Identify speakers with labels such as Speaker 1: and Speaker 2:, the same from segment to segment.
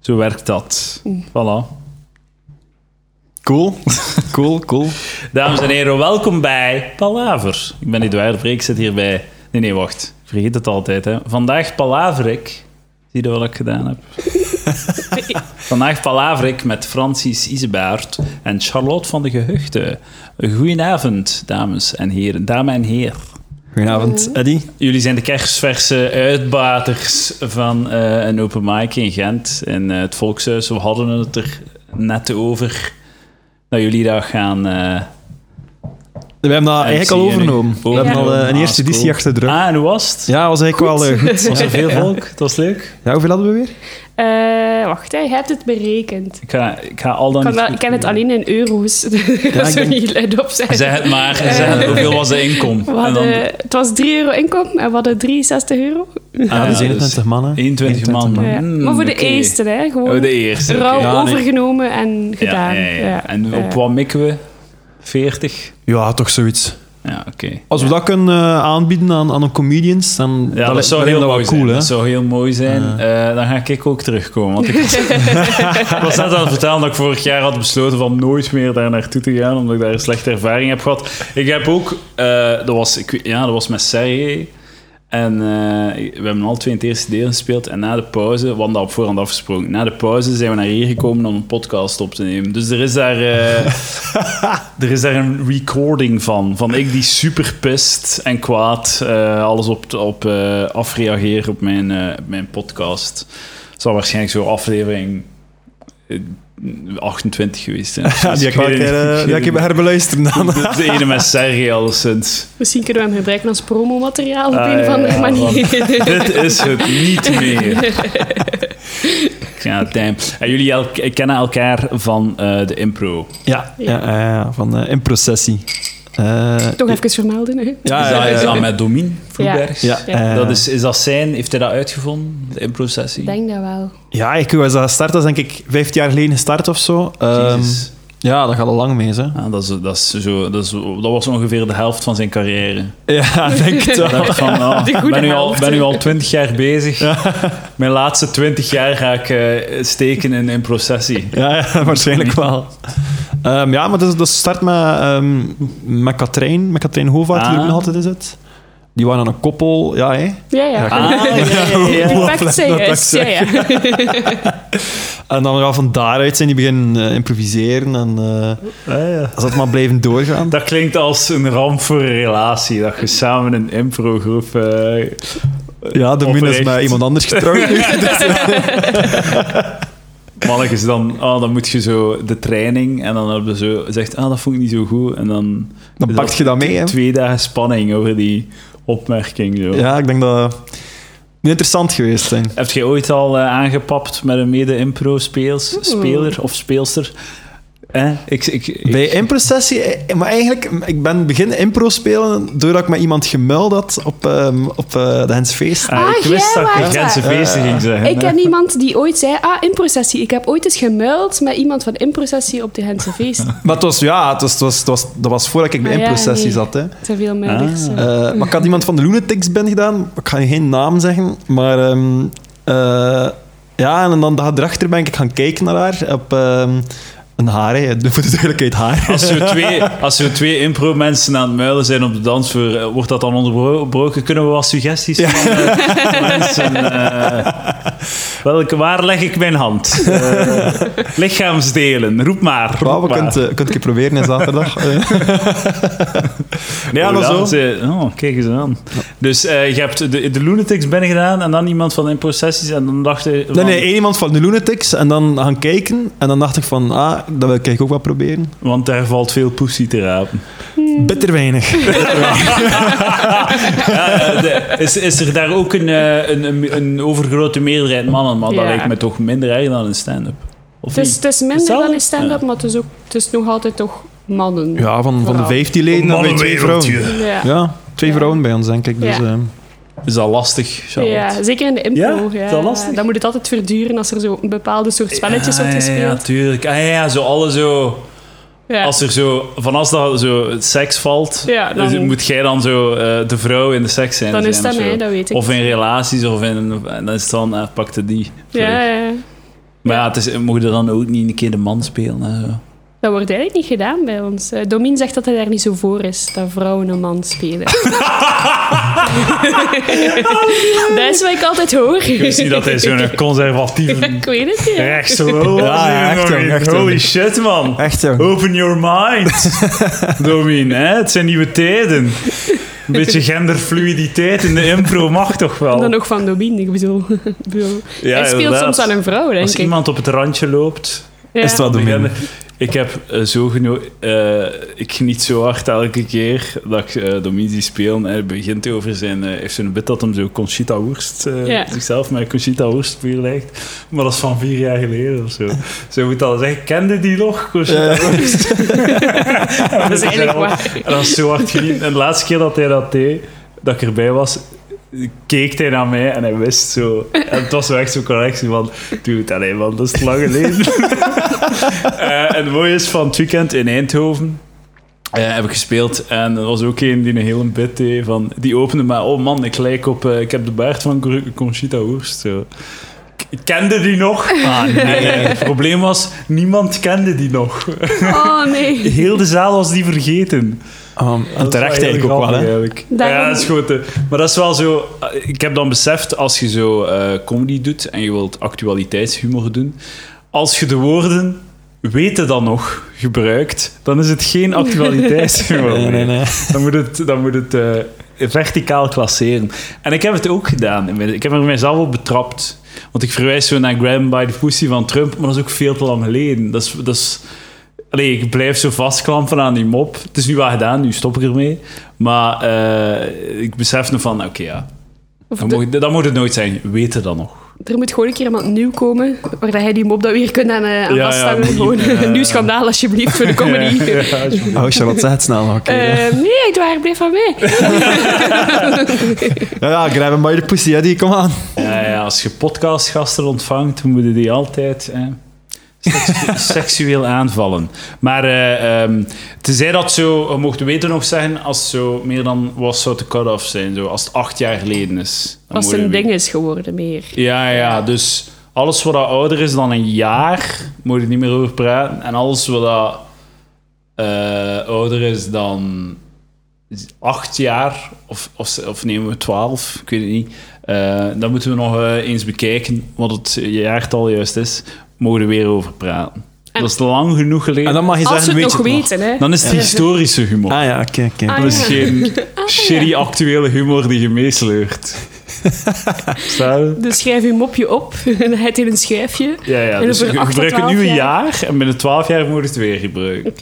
Speaker 1: Zo werkt dat. Voilà.
Speaker 2: Cool, cool, cool.
Speaker 1: Dames en heren, welkom bij Palaver. Ik ben Eduard Vreek, ik zit hier bij... Nee, nee, wacht. Ik Vergeet het altijd, hè. Vandaag palaver ik... Zie je wat ik gedaan heb? Vandaag palaver ik met Francis Isebaard en Charlotte van de Gehuchten. Goedenavond, dames en heren. Dame en heer.
Speaker 2: Goedenavond, Eddy.
Speaker 1: Jullie zijn de kerstverse uitbaters van eh, een open mic in Gent, in eh, het Volkshuis. We hadden het er net over dat jullie dat gaan... eh,
Speaker 2: We hebben dat Ah, eigenlijk al
Speaker 1: zie je nu.
Speaker 2: overgenomen. We hebben al eh, een
Speaker 1: Ah,
Speaker 2: eerste editie
Speaker 1: cool.
Speaker 2: achter de rug.
Speaker 1: Ah, en hoe was het?
Speaker 2: Ja, was eigenlijk wel eh, goed.
Speaker 1: Was er veel volk? Het was leuk.
Speaker 2: Ja, hoeveel hadden we weer?
Speaker 3: Eh, wacht, hè. je hebt het berekend.
Speaker 1: Ik ga, Oh, ik ga al
Speaker 3: Ik,
Speaker 1: dan
Speaker 3: kan
Speaker 1: niet
Speaker 3: wel-
Speaker 1: goed
Speaker 3: ik ken het alleen in euro's. Dat
Speaker 2: ik
Speaker 3: zou
Speaker 2: denk-
Speaker 3: niet luid op zijn.
Speaker 1: Zeg het maar. Zeg het, hoeveel was de inkom?
Speaker 3: Eh, We hadden, Het was 3 euro inkomen en we hadden 63 euro.
Speaker 1: Ah,
Speaker 2: Ja, dus 21 mannen.
Speaker 1: 21 eh, man.
Speaker 2: man.
Speaker 3: Ja.
Speaker 1: Mm,
Speaker 3: maar voor de
Speaker 1: oké.
Speaker 3: eerste, hè, gewoon
Speaker 1: Oh, de eerste. oké.
Speaker 3: rauw
Speaker 1: Ja, nee.
Speaker 3: overgenomen en gedaan.
Speaker 1: Ja, ja, ja.
Speaker 3: Ja.
Speaker 1: En op
Speaker 3: Ja.
Speaker 1: wat mikken we? 40?
Speaker 2: Ja, toch zoiets.
Speaker 1: Ja, oké.
Speaker 2: Als we dat kunnen eh, aanbieden aan, aan de comedians, dan
Speaker 1: Ja, dat,
Speaker 2: lijkt-
Speaker 1: zou
Speaker 2: lijkt
Speaker 1: heel
Speaker 2: me
Speaker 1: mooi
Speaker 2: wel cool,
Speaker 1: zijn.
Speaker 2: hè?
Speaker 1: Dat zou heel mooi zijn. Eh, dan ga ik ook terugkomen. Want ik was, ik was net aan het vertellen dat ik vorig jaar had besloten van nooit meer daar naartoe te gaan, omdat ik daar een slechte ervaring heb gehad. Ik heb ook, eh, dat, was, ik, weet- ja, dat was met Sergej. En eh, we hebben al twee in het eerste deel gespeeld. En na de pauze, we hadden dat op voorhand afgesproken. Na de pauze zijn we naar hier gekomen om een podcast op te nemen. Dus er is daar, eh, er is daar een recording van. Van ik die super pist en kwaad eh, alles op, op eh, afreageer op mijn, eh, op mijn podcast. Het zal waarschijnlijk zo'n aflevering eh, 28 geweest zijn.
Speaker 2: Ja, die
Speaker 1: Ik
Speaker 2: ga ik,
Speaker 1: weet het niet.
Speaker 2: eh, die ga ik even herbeluisteren dan.
Speaker 1: De ene met Sergej alleszins.
Speaker 3: Misschien kunnen we hem gebruiken als promomateriaal op
Speaker 1: Ah,
Speaker 3: een of
Speaker 1: ja,
Speaker 3: andere
Speaker 1: ja,
Speaker 3: manier.
Speaker 1: Dit is het niet meer. Ja, damn. En jullie el- kennen elkaar van eh, de impro.
Speaker 2: Ja, ja, ja, ja, van eh, in processie. Eh,
Speaker 3: Toch even vermelden. Hè.
Speaker 2: ja,
Speaker 1: is,
Speaker 2: ja,
Speaker 1: dat,
Speaker 2: ja,
Speaker 1: is dat
Speaker 2: ja.
Speaker 1: met Domin Vloebergs?
Speaker 2: Ja, eh,
Speaker 1: Dat is, is dat zijn? Heeft hij dat uitgevonden, de
Speaker 3: Ik
Speaker 1: impro-sessie?
Speaker 3: denk dat wel.
Speaker 2: ja, ik was dat gestart, dat is denk ik 15 jaar geleden gestart of zo. Ehm,
Speaker 1: Jezus.
Speaker 2: ja, dat gaat al lang mee, hè.
Speaker 1: Ah, dat, is, dat, is zo, dat, is, dat was ongeveer de helft van zijn carrière.
Speaker 2: Ja, denk het
Speaker 1: Ik
Speaker 2: wel.
Speaker 1: dacht van, ah,
Speaker 3: De goede
Speaker 1: ben nu al,
Speaker 3: helft.
Speaker 1: ben nu al twintig jaar bezig. Mijn laatste twintig jaar ga ik eh, steken in impro-sessie.
Speaker 2: Ja, ja, waarschijnlijk wel. Ehm, ja, maar dat, is- dat start met, ehm, met Katrijn, met Katrijn Hovaart, die
Speaker 1: Ah.
Speaker 2: er ook nog altijd in zit. Die waren een koppel, ja hè.
Speaker 3: Ja, ja.
Speaker 1: Ah, ja, ja, ja.
Speaker 3: Die
Speaker 2: Wat
Speaker 3: pakt
Speaker 2: leuk
Speaker 3: zijn
Speaker 2: dat dat
Speaker 3: juist. Ja, ja.
Speaker 2: En dan ja, van daaruit zijn die beginnen eh, improviseren en eh als dat maar blijven doorgaan.
Speaker 1: Dat klinkt als een ramp voor een relatie. Dat je samen een improgroep. eh
Speaker 2: Ja, de min is
Speaker 1: Oprecht.
Speaker 2: met iemand anders getrouwd nu.
Speaker 1: mannetjes dan. ah dan moet je zo de training. En dan heb je zo. Zegt, ah, dat vond ik niet zo goed. En dan.
Speaker 2: Dan
Speaker 1: is
Speaker 2: pak je dat mee, hè.
Speaker 1: Twee dagen spanning over die opmerking. Zo.
Speaker 2: Ja, ik denk dat moet interessant geweest zijn.
Speaker 1: Heb jij ooit al eh, aangepapt met een
Speaker 3: Hmm.
Speaker 1: mede-impro-speler of speelster? Eh? Ik, ik, ik-
Speaker 2: Bij improcessie, eh, maar eigenlijk, ik ben beginnen impro spelen doordat ik met iemand gemuild had op, ehm, op eh, de Hens Feest.
Speaker 1: Ah, ik
Speaker 3: Ah,
Speaker 1: wist
Speaker 3: jij
Speaker 1: dat ik
Speaker 3: was
Speaker 1: grenzen
Speaker 2: dat.
Speaker 1: feesten ging zeggen.
Speaker 3: Ik ken iemand die ooit zei, ah, improcessie. Ik heb ooit eens gemuild met iemand van improcessie op de Gentse feest.
Speaker 2: Maar het was, ja, het was, het was, het was, dat was voordat ik bij
Speaker 3: Ah, ja,
Speaker 2: improcessie
Speaker 3: nee.
Speaker 2: zat. Hè.
Speaker 3: Het zijn veel muilers.
Speaker 1: Ah.
Speaker 3: hè.
Speaker 2: Eh, maar ik had iemand van de Lunatics ben gedaan. Ik ga nu geen naam zeggen. Maar ehm, eh, ja, en dan de dag erachter ben ik gaan kijken naar haar. Op ehm, een haar, hè. voor de duidelijkheid haar.
Speaker 1: Als er twee, als er twee impro-mensen aan het muilen zijn op de dansvloer, eh, wordt dat dan onderbroken? Kunnen we wat suggesties van eh, mensen? eh, welke, waar leg ik mijn hand? Eh, lichaamsdelen, roep maar. Roep
Speaker 2: Wauw, we
Speaker 1: maar.
Speaker 2: kunt, eh, kunt je proberen in zaterdag. Eh. ja,
Speaker 1: Oh,
Speaker 2: dat
Speaker 1: dat
Speaker 2: zo.
Speaker 1: is, eh, oh, kijk eens aan. Dus eh, je hebt de, de Lunatics binnen gedaan en dan iemand van de improcessies en dan dacht je...
Speaker 2: Nee,
Speaker 1: van-
Speaker 2: nee, één iemand van de Lunatics en dan gaan kijken. En dan dacht ik van, ah, dat wil ik eigenlijk ook wel proberen.
Speaker 1: Want daar valt veel poesie te rapen.
Speaker 2: Bitter weinig.
Speaker 1: Eh, de- is, is er daar ook een, eh, een, een, een overgrote meerderheid mannen? Maar dat
Speaker 3: Ja. Dus
Speaker 1: lijkt me toch minder erg dan een stand-up. Of
Speaker 3: Het is,
Speaker 1: niet?
Speaker 3: het is minder
Speaker 1: Hetzelfde?
Speaker 3: dan in stand-up, maar het is, ook, het is nog altijd toch mannen.
Speaker 2: Ja, van, van de
Speaker 3: Vooral.
Speaker 2: vijftien leden dan weer twee vrouwen.
Speaker 3: Ja.
Speaker 2: Ja, twee
Speaker 3: Ja.
Speaker 2: vrouwen bij ons, denk ik. Dus,
Speaker 3: Ja.
Speaker 2: ehm,
Speaker 1: Is dat lastig, Charlotte?
Speaker 3: Ja, zeker in de impro.
Speaker 1: Ja,
Speaker 3: Ja,
Speaker 1: is dat lastig?
Speaker 3: Dan moet het altijd verduren als er zo een bepaalde soort spelletjes
Speaker 1: ja,
Speaker 3: wordt
Speaker 1: Ja, ja,
Speaker 3: gespeeld.
Speaker 1: tuurlijk. Ah, ja, ja, zo alle zo...
Speaker 3: Ja.
Speaker 1: Als er zo... Van als dat zo het seks valt,
Speaker 3: Ja, dan-
Speaker 1: dus moet jij dan zo eh, de vrouw in de seks zijn.
Speaker 3: Dan is
Speaker 1: zijn
Speaker 3: dat
Speaker 1: of zo.
Speaker 3: mij, dat weet ik.
Speaker 1: Of in relaties, of in... en Dan is het dan, eh, pakte die. Sorry.
Speaker 3: ja, ja.
Speaker 1: Maar ja, het is, mocht je dan ook niet een keer de man spelen en zo?
Speaker 3: Dat wordt eigenlijk niet gedaan bij ons. Eh, Domien zegt dat hij daar niet zo voor is, dat vrouwen een man spelen. dat is wat ik altijd hoor.
Speaker 1: Ik wist niet dat hij zo'n conservatieve
Speaker 3: Ik weet het niet. hè.
Speaker 1: rechtsrol was.
Speaker 2: Ja, ja, echt jong, echt
Speaker 1: Holy
Speaker 2: jong.
Speaker 1: shit, man.
Speaker 2: Echt, jong.
Speaker 1: Open your mind, Domien. Hè? Het zijn nieuwe tijden. Een beetje genderfluiditeit in de impro mag toch wel.
Speaker 3: Dan nog van Domien, ik bedoel. Ik bedoel,
Speaker 1: Ja,
Speaker 3: hij speelt
Speaker 1: inderdaad.
Speaker 3: soms aan een vrouw, denk
Speaker 1: Als
Speaker 3: ik.
Speaker 1: iemand op het randje loopt...
Speaker 3: Ja.
Speaker 2: Is het wel
Speaker 1: Ik
Speaker 2: Domien?
Speaker 1: heb- Ik heb eh, zo geno- eh, ik geniet zo hard elke keer dat ik eh Domien zie spelen. En hij begint over zijn... eh, heeft zo'n bit dat hem zo Conchita Wurst... eh,
Speaker 3: Ja.
Speaker 1: zichzelf met Conchita Wurst vergelijkt. Maar dat is van vier jaar geleden of zo. Zo moet dat zeggen. Kende die nog, Conchita Wurst?
Speaker 3: Dat is eigenlijk waar.
Speaker 1: En dat is zo hard geniet. En de laatste keer dat hij dat deed, dat ik erbij was, keek hij naar mij en hij wist zo. En het was zo echt zo'n correctie van, doe het alleen man, dat is lang geleden. Eh, en het mooie is, van het weekend in Eindhoven eh, heb ik gespeeld en er was ook een die een hele bit deed van, die opende maar, oh man, ik lijk op, eh, ik heb de baard van Cor- Conchita Wurst. Zo. K- Kende die nog? Ah, nee. Het probleem was, niemand kende die nog.
Speaker 3: Oh nee.
Speaker 1: Heel de zaal was die vergeten.
Speaker 2: Um, en
Speaker 1: Dat is
Speaker 2: terecht
Speaker 1: wel heel
Speaker 2: eigenlijk ook wel,
Speaker 1: grappig,
Speaker 2: hè?
Speaker 1: eigenlijk.
Speaker 3: Daarom-
Speaker 1: Ja, dat is goed. hè. Maar dat is wel zo... eh, Ik heb dan beseft, als je zo eh, comedy doet en je wilt actualiteitshumor doen, als je de woorden weten dan nog gebruikt, dan is het geen actualiteitshumor
Speaker 2: Nee, nee,
Speaker 1: meer.
Speaker 3: Oh,
Speaker 2: nee.
Speaker 1: Dan moet het, dan moet het eh, verticaal klasseren. En ik heb het ook gedaan. Ik heb er mijzelf op betrapt. Want ik verwijs zo naar Graham by the Pussy van Trump, maar dat is ook veel te lang geleden. Dat is... Dat is Allee, ik blijf zo vastklampen aan die mop. Het is nu wel gedaan, nu stop ik ermee. Maar eh, ik besef nog van, oké ja,
Speaker 3: Of
Speaker 1: dat
Speaker 3: de-
Speaker 1: mag, dat mag het nooit zijn. Weten dan nog.
Speaker 3: er moet gewoon een keer iemand nieuw komen, waar dat hij die mop dat we hier kunnen aan, eh, aan
Speaker 1: Ja,
Speaker 3: vasthangen.
Speaker 1: ja,
Speaker 3: gewoon
Speaker 1: Domien, eh.
Speaker 3: een nieuw schandaal alsjeblieft voor de comedy.
Speaker 1: Ja, ja, alsjeblieft.
Speaker 2: Oh, Charlotte, zeg het snel nog. oké.
Speaker 3: Eh, nee, het waar, blijf van mij.
Speaker 2: Ja, ja, grab him by the pussy, hè, die, kom aan.
Speaker 1: Ja, ja, als je podcastgasten ontvangt, dan moeten die altijd eh, seksu- seksueel aanvallen. Maar eh ehm tenzij dat zo, je mocht weten nog zeggen, als het zo meer dan was zou de cut-off zijn, zo, als het acht jaar geleden is. dan
Speaker 3: Als
Speaker 1: moet je
Speaker 3: het een
Speaker 1: weten.
Speaker 3: ding is geworden meer.
Speaker 1: Ja, ja, dus alles wat dat ouder is dan een jaar, moet je niet meer over praten. En alles wat dat, eh, ouder is dan acht jaar, of, of, of nemen we twaalf, ik weet het niet. Eh, dan moeten we nog eh, eens bekijken wat het jaartal juist is. Mogen we weer over praten.
Speaker 3: En-
Speaker 1: dat is lang genoeg geleden.
Speaker 2: En dan mag je
Speaker 3: Als we
Speaker 2: zeggen,
Speaker 3: het
Speaker 2: weet
Speaker 3: nog
Speaker 2: je het nog?
Speaker 3: weten, hè.
Speaker 1: Dan is het historische humor.
Speaker 2: Ah ja, oké, oké.
Speaker 3: Ah,
Speaker 1: Dat is
Speaker 3: ja.
Speaker 1: geen shitty actuele humor die je meesleurt. Staat het?
Speaker 3: Dus schrijf je mopje op, en het in een schijfje. Oké.
Speaker 1: Ja, ja
Speaker 3: En
Speaker 1: dus
Speaker 3: over
Speaker 1: je
Speaker 3: acht tot
Speaker 1: gebruikt het
Speaker 3: 12
Speaker 1: nu een
Speaker 3: jaar?
Speaker 1: jaar en binnen 12 jaar moet je het weer gebruiken.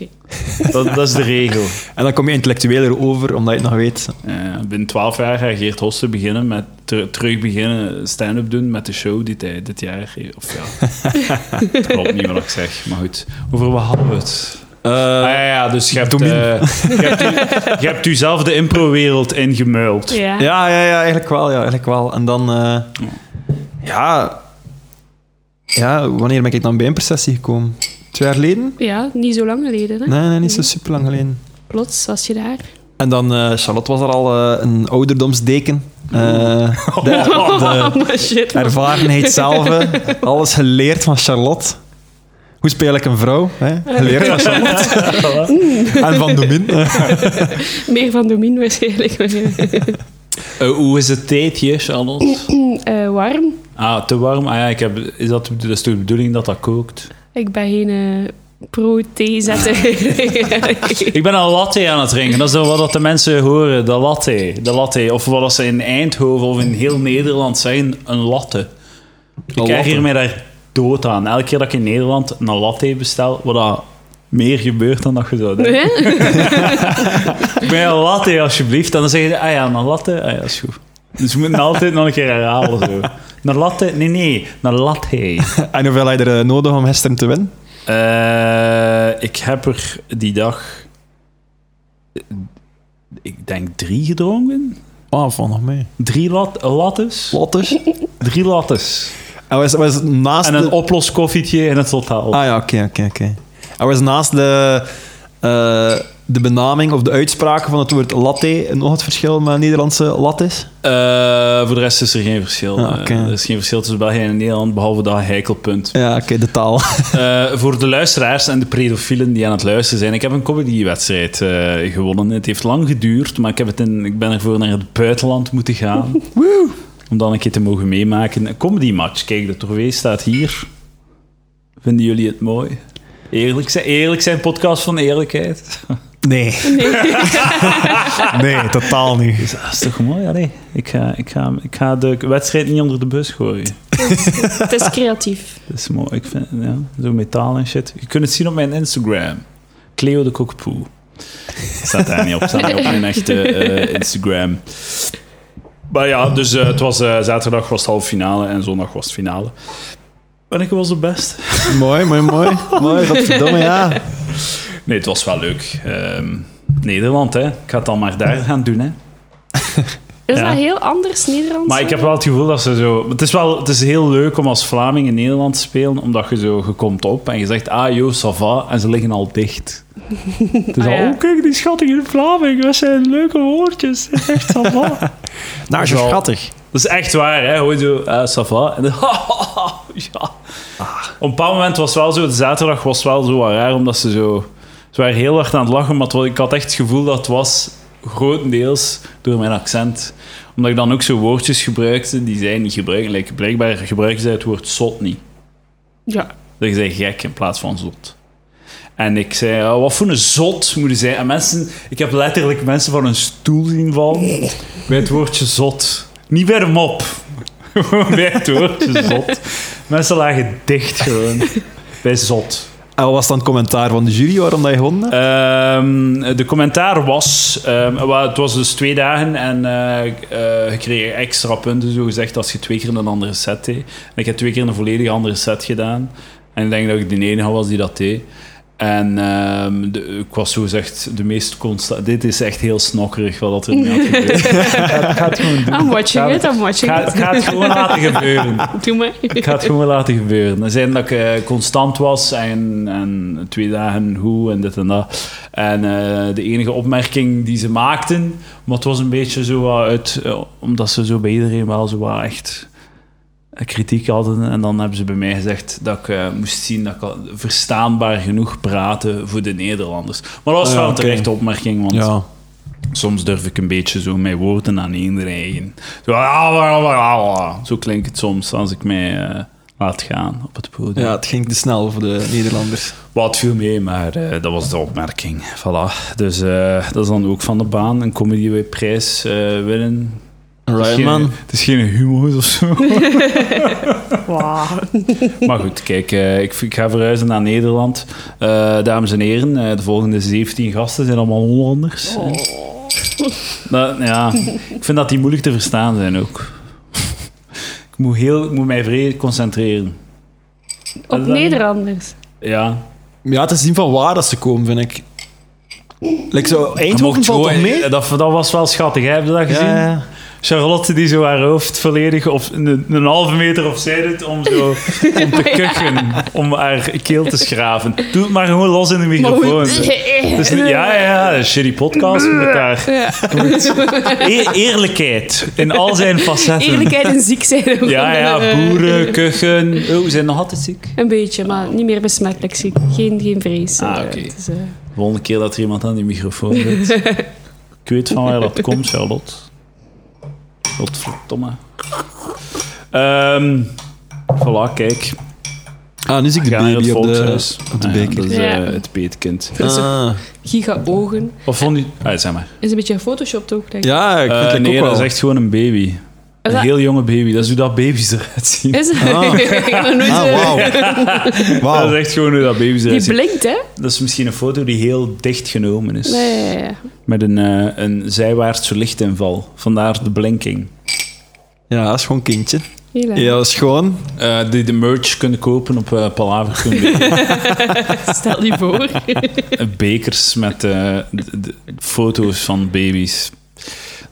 Speaker 1: Dat, dat is de regel.
Speaker 2: En dan kom je intellectueler over, omdat je het nog weet.
Speaker 1: Eh, binnen 12 jaar gaat Geert Hosten beginnen met ter- terug beginnen stand-up doen met de show die hij dit jaar heeft. Of ja, het klopt niet wat ik zeg, maar goed. Over wat hadden we het?
Speaker 2: Eh,
Speaker 1: ah ja, ja, dus je hebt,
Speaker 2: Domien.
Speaker 1: eh, je hebt, u- je hebt u zelf de impro-wereld ingemuild.
Speaker 3: Ja.
Speaker 2: Ja, ja, ja, eigenlijk wel. Ja, eigenlijk wel. En dan... eh, ja... Ja, wanneer ben ik dan bij Improcessie gekomen? Twee jaar geleden?
Speaker 3: ja, niet zo lang geleden, hè.
Speaker 2: Nee, nee, niet zo super lang geleden.
Speaker 3: Plots was je daar.
Speaker 2: En dan, eh, Charlotte was er al eh, een ouderdomsdeken. Eh, de,
Speaker 3: Oh, maar shit.
Speaker 2: de
Speaker 3: man.
Speaker 2: ervarenheid zelf. eh, Alles geleerd van Charlotte. Hoe speel ik een vrouw? Hè? Geleerd van Charlotte. en van Domin.
Speaker 3: Meer van Domien waarschijnlijk.
Speaker 1: Eh, hoe is het tijdje, Charlotte?
Speaker 3: Eh, warm.
Speaker 1: Ah, te warm? Ah ja, ik heb, is dat, dat is toch de bedoeling dat dat kookt?
Speaker 3: Ik ben geen eh, pro-thee zetten.
Speaker 1: Ik ben een latte aan het drinken. Dat is wat dat de mensen horen. De latte. De latte. Of wat dat ze in Eindhoven of in heel Nederland zeggen, een latte. Ik krijg
Speaker 2: latte.
Speaker 1: hiermee daar dood aan. Elke keer dat ik in Nederland een latte bestel, wat dat meer gebeurt dan dat je zou denken.
Speaker 3: Hè?
Speaker 1: Ik ben een latte, alsjeblieft. En dan zeg je, ah ja, een latte. Ah ja, is goed. Dus we moeten altijd nog een keer herhalen. Zo. Een latte? Nee, nee. Een latte.
Speaker 2: En hoeveel had je er eh, nodig om gisteren te winnen?
Speaker 1: Eh, ik heb er die dag... eh, Ik denk drie gedronken.
Speaker 2: Ah, van nog mee.
Speaker 1: Drie lat lattes?
Speaker 2: Lottes.
Speaker 1: Drie lattes.
Speaker 2: En was, was naast
Speaker 1: En een
Speaker 2: de-
Speaker 1: oploskoffietje in het totaal.
Speaker 2: Ah ja, oké, oké, oké. Hij was naast de eh de benaming of de uitspraak van het woord latte nog het verschil met Nederlandse lat is?
Speaker 1: Eh, voor de rest is er geen verschil.
Speaker 2: Ah, oké.
Speaker 1: Eh, er is geen verschil tussen België en Nederland, behalve dat heikelpunt.
Speaker 2: Ja, oké, de taal.
Speaker 1: Eh, voor de luisteraars en de predofielen die aan het luisteren zijn, ik heb een comedywedstrijd eh, gewonnen. Het heeft lang geduurd, maar ik, heb het in, ik ben ervoor naar het buitenland moeten gaan. om dan een keer te mogen meemaken. Een comedy match. Kijk, de trofee staat hier. Vinden jullie het mooi? Eerlijk zijn, eerlijk zijn podcast van eerlijkheid.
Speaker 2: Nee. nee, totaal niet.
Speaker 1: Dat is toch mooi? Allee, ik, ga, ik, ga, ik ga de wedstrijd niet onder de bus gooien.
Speaker 3: Het is creatief.
Speaker 1: Dat is mooi. Ik vind, ja, zo metaal en shit. Je kunt het zien op mijn Instagram. Cleo de Kokpoe. Staat daar niet op. Staat niet op mijn echte eh, Instagram. Maar ja, dus eh, het was, eh, zaterdag was het halve finale en zondag was het finale. En ik was de best.
Speaker 2: Mooi, mooi, mooi. mooi, godverdomme, ja.
Speaker 1: Nee, het was wel leuk. Ehm, Nederland, hè. Ik ga het dan maar daar gaan doen, hè.
Speaker 3: Is
Speaker 1: Ja.
Speaker 3: dat heel anders, Nederlands?
Speaker 1: Maar ik heb wel het gevoel dat ze zo... Het is wel het is heel leuk om als Vlaming in Nederland te spelen, omdat je zo... Je komt op en je zegt, ah, yo, ça va, en ze liggen al dicht. Het is
Speaker 3: Ah,
Speaker 1: al,
Speaker 3: ja.
Speaker 1: oh, kijk, die schattige Vlaming, wat zijn leuke woordjes. Echt, ça va.
Speaker 2: Nou, is
Speaker 1: Wel-
Speaker 2: schattig.
Speaker 1: Dat is echt waar, hè? Hoor je zo, eh, ça va? En dan, ja. Op een bepaald moment was het wel zo, de zaterdag was wel zo wat raar, omdat ze zo. Ze waren heel hard aan het lachen, maar het wa- ik had echt het gevoel dat het was grotendeels door mijn accent. Omdat ik dan ook zo woordjes gebruikte die zij niet gebruiken. Like, blijkbaar gebruiken zij het woord zot niet.
Speaker 3: Ja.
Speaker 1: Dat je zei gek in plaats van zot. En ik zei, ja, wat voor een zot moeten zij... En mensen, ik heb letterlijk mensen van een stoel zien vallen bij het woordje zot. Niet bij de mop. Gewoon bij het woordje zot. Mensen lagen dicht gewoon. Bij zot.
Speaker 2: En wat was dan het commentaar van de jury waarom dat je gewonnen hebt?
Speaker 1: Ehm, de commentaar was, ehm, wel, het was dus twee dagen en eh, eh, je kreeg extra punten, zo gezegd, als je twee keer een andere set deed. En ik heb twee keer een volledig andere set gedaan. En ik denk dat ik de enige was die dat deed. En ehm, de- ik was zo gezegd de meest constant. Dit is echt heel snokkerig wat er nu aan het gebeuren. Ik ga het gewoon doen.
Speaker 3: I'm watching it, I'm
Speaker 1: Ik
Speaker 3: watching
Speaker 1: ga,
Speaker 3: it.
Speaker 1: ik ga het gewoon laten gebeuren.
Speaker 3: Doe maar.
Speaker 1: Ik ga het gewoon laten gebeuren. Er zijn dat ik eh, constant was en, en twee dagen hoe en dit en dat. En eh, de enige opmerking die ze maakten, maar het was een beetje zo wat uit, eh, omdat ze zo bij iedereen wel zo wat echt eh, kritiek hadden. En dan hebben ze bij mij gezegd dat ik eh, moest zien dat ik al verstaanbaar genoeg praatte voor de Nederlanders. Maar dat was
Speaker 2: Ah,
Speaker 1: wel een
Speaker 2: oké.
Speaker 1: terechte opmerking, want soms durf ik een beetje zo mijn woorden aan één eigen. Zo, "Ah, wa, wa, wa, wa." zo klinkt het soms als ik mij eh, laat gaan op het podium.
Speaker 2: Ja, het ging te snel voor de Nederlanders.
Speaker 1: Wat viel mee, maar eh, dat was de opmerking. Voilà. Dus eh, dat is dan ook van de baan. Een comedy prijs eh, winnen. Het is geen- Het is geen humor of zo.
Speaker 3: Wow.
Speaker 1: Maar goed, kijk, eh, ik, ik ga verhuizen naar Nederland. Eh, dames en heren, eh, de volgende 17 gasten zijn allemaal Hollanders.
Speaker 3: Oh.
Speaker 1: Nou, ja, ik vind dat die moeilijk te verstaan zijn ook. ik, moet heel, ik moet mij vrij concentreren.
Speaker 3: Op Nederlanders.
Speaker 1: Ja.
Speaker 2: Ja, het is niet van waar dat ze komen, vind ik. Like zo,
Speaker 1: Je
Speaker 2: Eindhoven
Speaker 1: mocht eh,
Speaker 2: valt toch
Speaker 1: gewoon-
Speaker 2: mee?
Speaker 1: Dat, dat was wel schattig, hè? heb je dat gezien? Charlotte die zo haar hoofd volledig of een, een halve meter opzij doet om zo om te kuchen, om haar keel te schraven. Doe het maar gewoon los in de microfoon. Het is niet- ja, ja, ja, een shitty podcast met haar. E- eerlijkheid in al zijn facetten.
Speaker 3: Eerlijkheid en ziek zijn. ook. eh,
Speaker 1: Ja, ja, boeren, kuchen. Oh, we zijn nog altijd ziek.
Speaker 3: Een beetje, maar niet meer besmettelijk ziek. Geen, geen vrees.
Speaker 1: Ah,
Speaker 3: Eh,
Speaker 1: oké.
Speaker 3: het is, eh,
Speaker 1: De volgende keer dat er iemand aan die microfoon zit. Ik weet van waar dat komt, Charlotte. Godverdomme. Ehm voilà, kijk.
Speaker 2: Ah, nu zie ik de
Speaker 1: Ga naar het
Speaker 2: baby op de,
Speaker 1: volkshuis.
Speaker 2: op de
Speaker 1: Ah ja,
Speaker 2: beker.
Speaker 1: dat is
Speaker 3: Ja.
Speaker 1: eh, het peetkind.
Speaker 3: dat is een
Speaker 2: Ah.
Speaker 3: Giga-ogen.
Speaker 1: Of vond je... Ah, zeg maar.
Speaker 3: Is een beetje gefotoshopt ook, denk ik.
Speaker 2: Ja, ik vind
Speaker 1: Eh,
Speaker 2: het
Speaker 1: nee,
Speaker 2: ook wel.
Speaker 1: dat is echt gewoon een baby.
Speaker 3: Is
Speaker 1: Een
Speaker 3: dat-
Speaker 1: heel jonge baby. Dat is hoe dat baby's eruit zien.
Speaker 3: Is het? Ik heb nog nooit,
Speaker 2: Ah,
Speaker 3: eh,
Speaker 2: wauw.
Speaker 1: Dat
Speaker 2: Wauw.
Speaker 1: is echt gewoon hoe dat baby's eruit
Speaker 3: Die
Speaker 1: zien.
Speaker 3: blinkt, hè?
Speaker 1: Dat is misschien een foto die heel dicht genomen is.
Speaker 3: Nee, ja, ja, ja.
Speaker 1: Met een, eh, een zijwaartse lichtinval. Vandaar de blinking.
Speaker 2: Ja, dat is gewoon kindje.
Speaker 3: Heel erg.
Speaker 2: Ja, dat is gewoon...
Speaker 1: Eh, die de merch kunnen kopen op eh Palaver.
Speaker 3: Stel die voor.
Speaker 1: Bekers eh, met eh, d- d- foto's van baby's.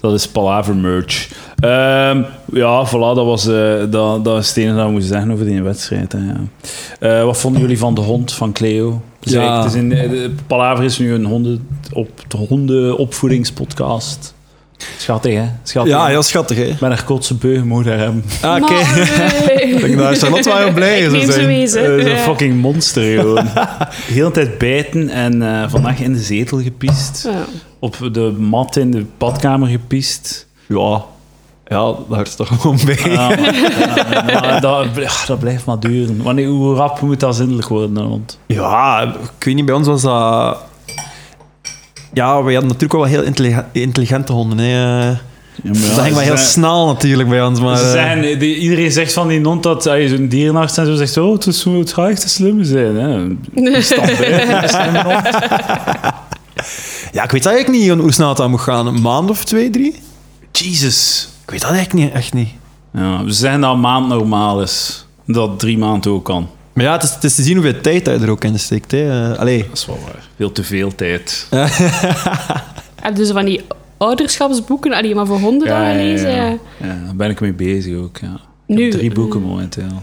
Speaker 1: Dat is Palaver merch. Ehm, ja, voilà, dat was eh, dat, dat is het enige dat we moesten zeggen over die wedstrijd. Hè, ja. Eh, wat vonden jullie van de hond van Cleo? Dus
Speaker 2: Ja.
Speaker 1: eigenlijk, het is in, de Palaver is nu een honden, op, de hondenopvoedingspodcast. Schattig, hè? Schattig.
Speaker 2: Ja, heel schattig, hè?
Speaker 1: Ik ben er kotse beu, moet daar hebben.
Speaker 2: Ah, oké.
Speaker 3: Ik
Speaker 2: denk dat Charlotte wel heel blij
Speaker 3: Ik
Speaker 2: zou
Speaker 3: neem ze
Speaker 2: zijn.
Speaker 1: Eh,
Speaker 3: wezen.
Speaker 1: een
Speaker 3: Ja.
Speaker 1: fucking monster, gewoon. De hele tijd bijten en eh, vannacht in de zetel gepiest.
Speaker 3: Ja.
Speaker 1: Op de mat in de badkamer gepiest.
Speaker 2: Ja. Ja, daar is toch gewoon bij.
Speaker 1: Ja, maar dat, ja, dat blijft maar duren. Wanneer, hoe rap moet dat zindelijk worden? Want
Speaker 2: Ja, ik weet niet, bij ons was dat... Ja, we hadden natuurlijk wel heel intelligen- intelligente honden. Hè. dat ging wel heel snel natuurlijk bij ons, maar...
Speaker 1: Ze
Speaker 2: eh,
Speaker 1: zeggen- die- iedereen zegt van die hond dat als je zo'n dierenarts en zo zegt, oh, het, is, zo- het gaat echt een slimme zijn. Hè. Stap bij, een slimme hond.
Speaker 2: Ja, ik weet eigenlijk niet hoe snel het aan moet gaan. Een maand of twee, drie?
Speaker 1: Jesus.
Speaker 2: Ik weet dat eigenlijk niet, echt niet.
Speaker 1: Ja, we zeggen dat een maand normaal is. Dat drie maanden ook kan.
Speaker 2: Maar ja, het is, het is te zien hoeveel tijd dat je er ook in steekt. Hè. Eh, allee.
Speaker 1: Dat is wel waar. Veel te veel tijd.
Speaker 3: Heb je zo van die ouderschapsboeken, allee, maar voor honden dan gelezen?
Speaker 1: ja.
Speaker 3: Ja.
Speaker 1: Ja, daar ben ik mee bezig ook. Ja. Ik
Speaker 3: Nu,
Speaker 1: heb drie boeken
Speaker 3: eh.
Speaker 1: momenteel.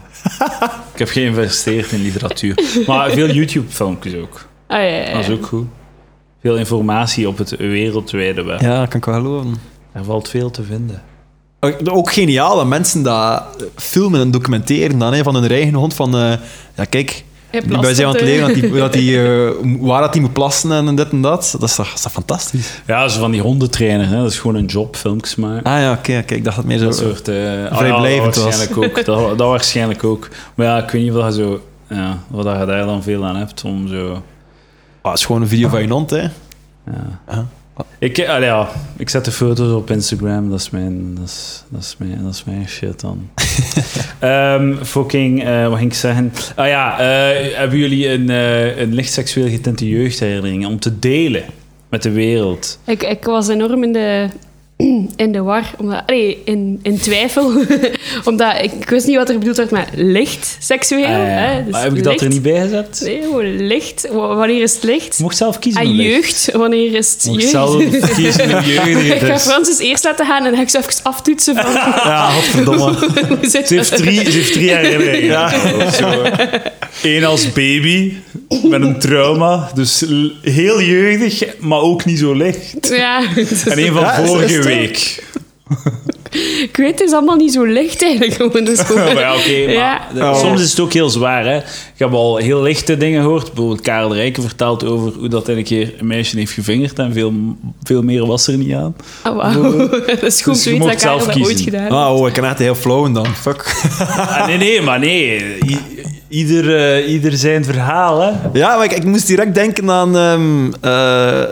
Speaker 1: ik heb geïnvesteerd in literatuur. Maar veel YouTube-filmpjes ook.
Speaker 3: Ah, ja, ja, ja.
Speaker 1: Dat is ook goed. Veel informatie op het wereldwijde web.
Speaker 2: Ja, kan ik wel geloven.
Speaker 1: Er valt veel te vinden.
Speaker 2: Ook- Ook geniaal dat mensen dat filmen en documenteren dan, hè, van hun eigen hond. Van, eh, ja, kijk,
Speaker 3: Hij
Speaker 2: die
Speaker 3: plast
Speaker 2: bij zijn aan
Speaker 3: het,
Speaker 2: het
Speaker 3: hè.
Speaker 2: leven, dat die, dat die, eh, waar dat die moet plassen en dit en dat. Dat is toch, dat is toch fantastisch?
Speaker 1: Ja, zo van die hondentrainer. Hè. Dat is gewoon een job, filmpjes maken.
Speaker 2: Ah ja, oké, oké, ik dacht dat het meer
Speaker 1: Dat
Speaker 2: zo...
Speaker 1: soort... eh, ah ja,
Speaker 2: Vrijblijvend
Speaker 1: dat
Speaker 2: was.
Speaker 1: waarschijnlijk ook. Dat, dat waarschijnlijk ook. Maar ja, ik weet niet of dat zo... Ja, wat dat je daar dan veel aan hebt om zo...
Speaker 2: Ah, het is gewoon een video van je hond, hè.
Speaker 1: Ja.
Speaker 2: Ja.
Speaker 1: Ik, eh, allee, ja, ik zet de foto's op Instagram. Dat is mijn, dat is, dat is mijn, dat is mijn shit dan. Ehm, fucking, eh, wat ging ik zeggen? Ah ja, eh, hebben jullie een, eh, een licht seksueel getinte jeugdherinnering om te delen met de wereld?
Speaker 3: Ik, ik was enorm in de, in de war, omdat, allee, in, in twijfel. omdat ik, ik wist niet wat er bedoeld werd met licht seksueel.
Speaker 1: Ah, ja.
Speaker 3: hè, dus
Speaker 1: maar heb ik
Speaker 3: licht.
Speaker 1: dat er niet bij gezet?
Speaker 3: Nee, gewoon licht. W- wanneer is het licht?
Speaker 1: Je mocht zelf kiezen.
Speaker 3: En
Speaker 1: hoe licht.
Speaker 3: jeugd, wanneer is het
Speaker 1: Je mocht
Speaker 3: jeugd?
Speaker 1: zelf dus. kiezen hoe jeugd
Speaker 3: Ik
Speaker 1: het
Speaker 3: ga
Speaker 1: is.
Speaker 3: Francis eerst laten gaan en dan ga ik zo even aftoetsen van...
Speaker 2: Ja, godverdomme.
Speaker 3: hoe zit
Speaker 1: Ze heeft
Speaker 3: dat?
Speaker 1: drie, ze heeft drie herinneringen. Zo. Eén als baby, met een trauma. Dus l- heel jeugdig, maar ook niet zo licht.
Speaker 3: Ja,
Speaker 1: En een van
Speaker 2: Ja, is-
Speaker 1: vorige
Speaker 2: is het?
Speaker 1: week.
Speaker 3: ik weet, het is allemaal niet zo licht eigenlijk. gewoon, Dus
Speaker 1: Ja, maar ja, oké, maar
Speaker 3: Ja.
Speaker 1: de-
Speaker 2: Ja.
Speaker 1: soms is het ook heel zwaar. Hè? Ik heb al heel lichte dingen gehoord. Bijvoorbeeld Karel Rijken vertelt over hoe dat hij een keer een meisje heeft gevingerd. En veel, veel meer was er niet aan.
Speaker 3: Oh, wauw. Dat is goed
Speaker 1: Dus
Speaker 3: te
Speaker 1: je
Speaker 3: weten
Speaker 1: mocht
Speaker 3: dat Karel
Speaker 1: zelf
Speaker 3: dat
Speaker 1: kiezen.
Speaker 3: ooit gedaan heeft.
Speaker 2: Ah, oh, ik kan echt heel flowen dan. Fuck.
Speaker 1: Ah, nee, nee, maar nee. I- ieder, eh, ieder zijn verhaal. Hè?
Speaker 2: Ja, maar ik, ik moest direct denken aan... ehm, eh,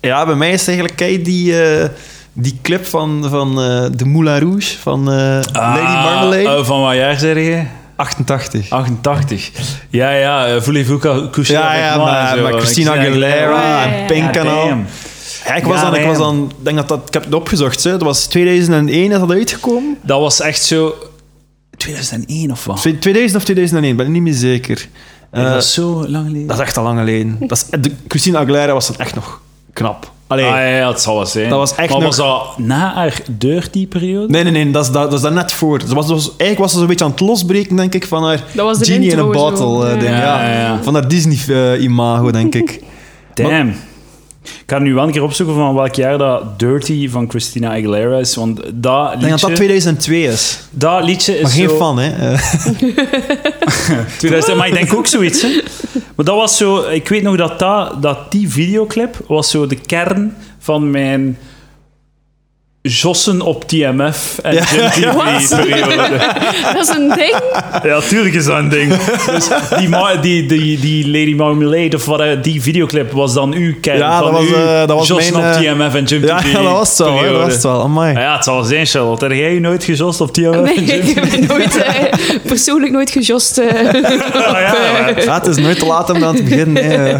Speaker 2: ja, bij mij is het eigenlijk... Kijk, die, eh, die clip van, van eh, de Moulin Rouge van eh, Lady Marmalade.
Speaker 1: Ah, eh, van wat jaar zeg je?
Speaker 2: 88.
Speaker 1: 88. Ja, ja. eh, Voulez-vous cou- coucher
Speaker 2: Ja,
Speaker 1: avec
Speaker 2: ja,
Speaker 1: moi
Speaker 2: maar-
Speaker 1: en zo.
Speaker 2: maar Christina
Speaker 3: Aguilera
Speaker 2: Aguilera
Speaker 3: ja, ja,
Speaker 2: en Pink
Speaker 1: Ja,
Speaker 2: en al.
Speaker 1: damn.
Speaker 2: Ja, ik was
Speaker 1: Ja,
Speaker 2: dan, ik was
Speaker 1: damn.
Speaker 2: dan, ik denk dat dat, ik heb het opgezocht, hè. dat was 2001 is dat uitgekomen.
Speaker 1: Dat was echt zo... 2001 of wat?
Speaker 2: Twee- 2000 of 2001, ben ik niet meer zeker. Eh,
Speaker 1: dat was zo lang geleden.
Speaker 2: dat is echt al lang geleden. Dat is, de, Christine Aguilera was dan echt nog knap. Allee,
Speaker 1: Ah, ja, ja, dat zal wel zijn.
Speaker 2: Dat was echt
Speaker 1: maar was
Speaker 2: nog-
Speaker 1: dat na haar dirty-periode?
Speaker 2: Nee, nee, nee, dat is, dat, dat is daar net voor. Ze was, was, eigenlijk was ze zo'n beetje aan het losbreken, denk ik, van haar
Speaker 3: Dat was de
Speaker 2: Genie in
Speaker 3: intro
Speaker 2: a
Speaker 3: zo.
Speaker 2: Bottle eh,
Speaker 3: Ja.
Speaker 2: ding.
Speaker 1: Ja,
Speaker 2: Ja,
Speaker 1: ja, ja.
Speaker 2: Van haar Disney-imago, denk ik.
Speaker 1: Damn. Ik ga nu wel een keer opzoeken van welk jaar dat Dirty van Christina Aguilera is. Want dat
Speaker 2: Ik denk dat
Speaker 1: liedje,
Speaker 2: dat 2002 is.
Speaker 1: dat liedje is
Speaker 2: Maar geen
Speaker 1: zo...
Speaker 2: fan, hè. Eh,
Speaker 1: 2000, maar ik denk ook zoiets. Hè. Maar dat was zo... Ik weet nog dat, dat, dat die videoclip was zo de kern van mijn... Jossen op TMF en Dirty-periode.
Speaker 3: Dat is een ding.
Speaker 1: Ja, tuurlijk is dat een ding. Dus die, ma- die, die, die Lady Marmalade of wat, eh, die videoclip was dan uw kern.
Speaker 2: Ja,
Speaker 1: van
Speaker 2: dat was,
Speaker 1: uw
Speaker 2: eh, dat was
Speaker 1: Jossen
Speaker 2: mijn, eh,
Speaker 1: op TMF en Jim
Speaker 2: ja, dat was het wel, hè, dat was het wel. Amai.
Speaker 1: Ja, het zal zijn, Charlotte. Heb jij je nooit gejost op TMF
Speaker 3: Nee,
Speaker 1: en Jim
Speaker 3: ik heb nooit, eh, persoonlijk nooet gejost. eh.
Speaker 1: Ah, ja, maar-
Speaker 2: Ja, het is nooit te laat om aan te beginnen. hè.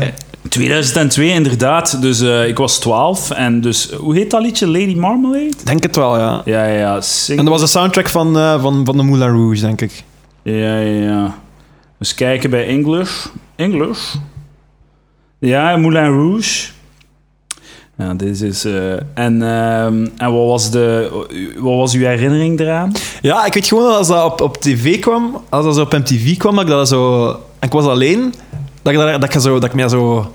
Speaker 1: 2002 inderdaad. Dus eh, ik was 12. En dus, hoe heet dat liedje? Lady Marmalade?
Speaker 2: Denk het wel, ja.
Speaker 1: Ja, ja, ja. Sing-
Speaker 2: En dat was de soundtrack van, eh, van, van de Moulin Rouge, denk ik.
Speaker 1: Ja, ja, ja. Eens kijken bij English. English? Ja, Moulin Rouge. Ja, dit is... eh, en ehm, en wat, was de, wat was uw herinnering eraan?
Speaker 2: Ja, ik weet gewoon dat als dat op, op tv kwam, als dat zo op MTV kwam, dat ik dat zo... En ik was alleen, dat ik, daar- dat ik, zo, dat ik me zo...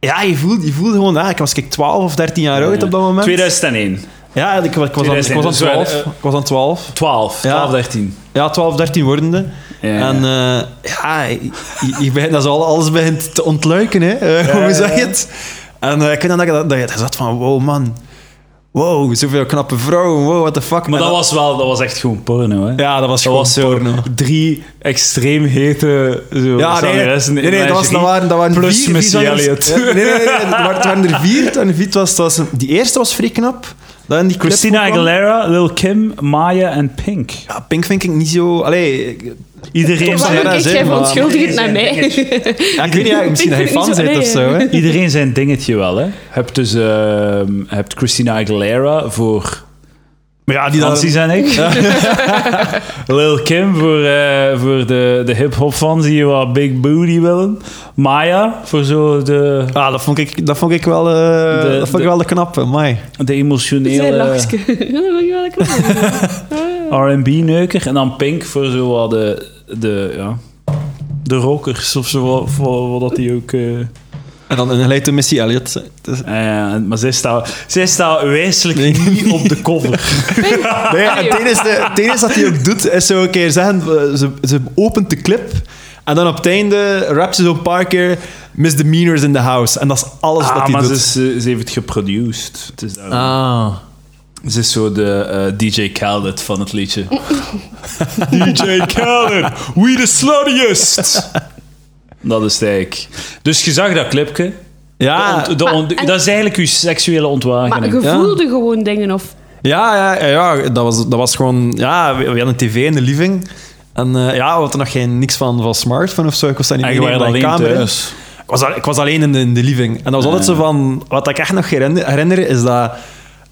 Speaker 2: Ja, je voelde, je voelde gewoon... Ja, ik was kijk, 12 of 13 jaar oud
Speaker 1: Eh,
Speaker 2: op dat moment.
Speaker 1: 2001.
Speaker 2: Ja, ik, ik, was aan, ik was aan
Speaker 1: 2001, dus we-
Speaker 2: 12.
Speaker 1: eh,
Speaker 2: Ik was aan 12.
Speaker 1: 12,
Speaker 2: Ja.
Speaker 1: 12, 13.
Speaker 2: Ja, 12, 13 wordende.
Speaker 1: Ja.
Speaker 2: En eh, ja, je, je begint, dat is al, alles begint te ontluiken, hè. Eh,
Speaker 1: Ja,
Speaker 2: hoe
Speaker 1: ja,
Speaker 2: zeg je
Speaker 1: ja.
Speaker 2: het? En eh, ik weet nog dat, je- dat je zat van, wow, man. Wow, zoveel knappe vrouwen. Wow, what the fuck.
Speaker 1: maar
Speaker 2: En
Speaker 1: dat was wel, dat was echt gewoon porno, hè?
Speaker 2: Ja, dat
Speaker 1: dat
Speaker 2: was gewoon
Speaker 1: was zo
Speaker 2: porno.
Speaker 1: drie extreem hete zo,
Speaker 2: Ja, nee, nee,
Speaker 1: zangeressen
Speaker 2: nee,
Speaker 1: in
Speaker 2: dat, was, dat
Speaker 1: lingerie.
Speaker 2: waren, dat waren
Speaker 1: plus
Speaker 2: vier,
Speaker 1: Missy
Speaker 2: vier zangers-
Speaker 1: Elliott.
Speaker 2: Ja, nee, nee, nee, nee, het waren- het waren er vier. En Viet was, dat was, die eerste was vrij knap. Dan die clip
Speaker 1: Christina
Speaker 2: kwam.
Speaker 1: Aguilera, Lil Kim, Maya en Pink.
Speaker 2: Ja, Pink vind ik niet zo... Allee, ik-
Speaker 1: Iedereen
Speaker 2: Toch
Speaker 1: zijn,
Speaker 2: wel dat
Speaker 3: Waarom
Speaker 2: is,
Speaker 3: kijk
Speaker 2: hè,
Speaker 3: jij
Speaker 2: maar-
Speaker 3: verontschuldigend naar mij?
Speaker 2: ja, ik weet niet, ja, misschien dat je
Speaker 3: vind het
Speaker 2: fan
Speaker 3: niet zo-
Speaker 2: bent of zo. Hè.
Speaker 3: nee.
Speaker 1: iedereen zijn dingetje wel, hè? Hebt dus ehm, hebt Christina Aguilera voor
Speaker 2: Maar ja, die dan...
Speaker 1: Nancy's en ik. Lil Kim voor, eh, voor de, de hip-hop fans die wat big booty willen. Maya voor zo de,
Speaker 2: Ah, dat vond ik, dat vond ik, wel, eh dat vond
Speaker 1: de-
Speaker 2: ik wel de knappe, mai.
Speaker 1: de
Speaker 3: Zijn
Speaker 1: emotionele.
Speaker 3: lachske. Ja, dat wil ik wel knap.
Speaker 1: R&B-neuker. En dan Pink voor zo wat de, de, ja, de rockers of zo, wat- wat, wat dat die ook... eh,
Speaker 2: En dan een leidt Missy Elliott. Het is-
Speaker 1: eh, maar zij staat, zij staat wijselijk
Speaker 2: Nee.
Speaker 1: niet op de cover.
Speaker 2: Nee, het enige, het enige dat hij ook doet, is zo een keer zeggen... eh, Ze, ze opent de clip en dan op het einde rapt ze zo'n paar keer misdemeanors in the house. En dat is alles
Speaker 1: Ah,
Speaker 2: wat hij
Speaker 1: maar ze,
Speaker 2: doet.
Speaker 1: is, eh, ze heeft het geproduced. Het is, daarom.
Speaker 2: Ah.
Speaker 1: Ze is zo de eh, DJ Khaled van het liedje. DJ Khaled, we the sluttiest! Dat is het eigenlijk. Dus je zag dat clipje.
Speaker 2: Ja,
Speaker 1: De ont- de ont- dat is eigenlijk je seksuele
Speaker 3: Maar je
Speaker 1: ontwagening.
Speaker 2: Ja.
Speaker 3: voelde gewoon dingen of...
Speaker 2: Ja, ja, ja, ja, dat, was, dat was gewoon... Ja, we, we hadden een tv in de living. En eh, ja, we hadden nog geen, niks van, van smartphone of zo. Ik was daar niet
Speaker 1: En
Speaker 2: mee
Speaker 1: je waren alleen
Speaker 2: kamer. in.
Speaker 1: thuis.
Speaker 2: Ik was, al- ik was alleen in de, in de living. En dat was altijd zo van... Wat ik echt nog herinner, herinner is dat...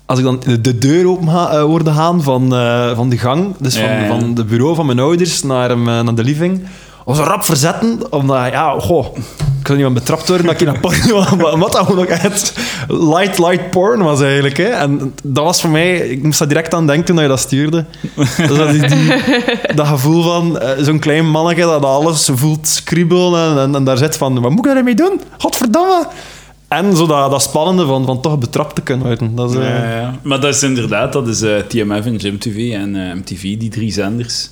Speaker 2: Als ik dan de, de deur open ha- eh, hoorde gaan van, eh, van de gang, dus van,
Speaker 1: Ja, ja.
Speaker 2: van de bureau van mijn ouders naar, hem, eh, naar de living, was een rap verzetten, omdat, ja, goh, ik zou niet aan betrapt worden dat ik in een porno was, wat dat gewoon ook echt light, light porn was eigenlijk. Hè. En dat was voor mij, ik moest daar direct aan denken toen je dat stuurde. Dus dat, die, die- dat gevoel van eh, zo'n klein mannetje dat alles voelt kriebelen en, en, en daar zit van, wat moet ik daarmee doen? Godverdamme! En zo dat, dat spannende van, van toch betrapt te kunnen worden. Dat is, eh,
Speaker 1: Ja, ja. Maar dat is inderdaad, dat is eh, TMF en GymTV en eh, MTV, die drie zenders.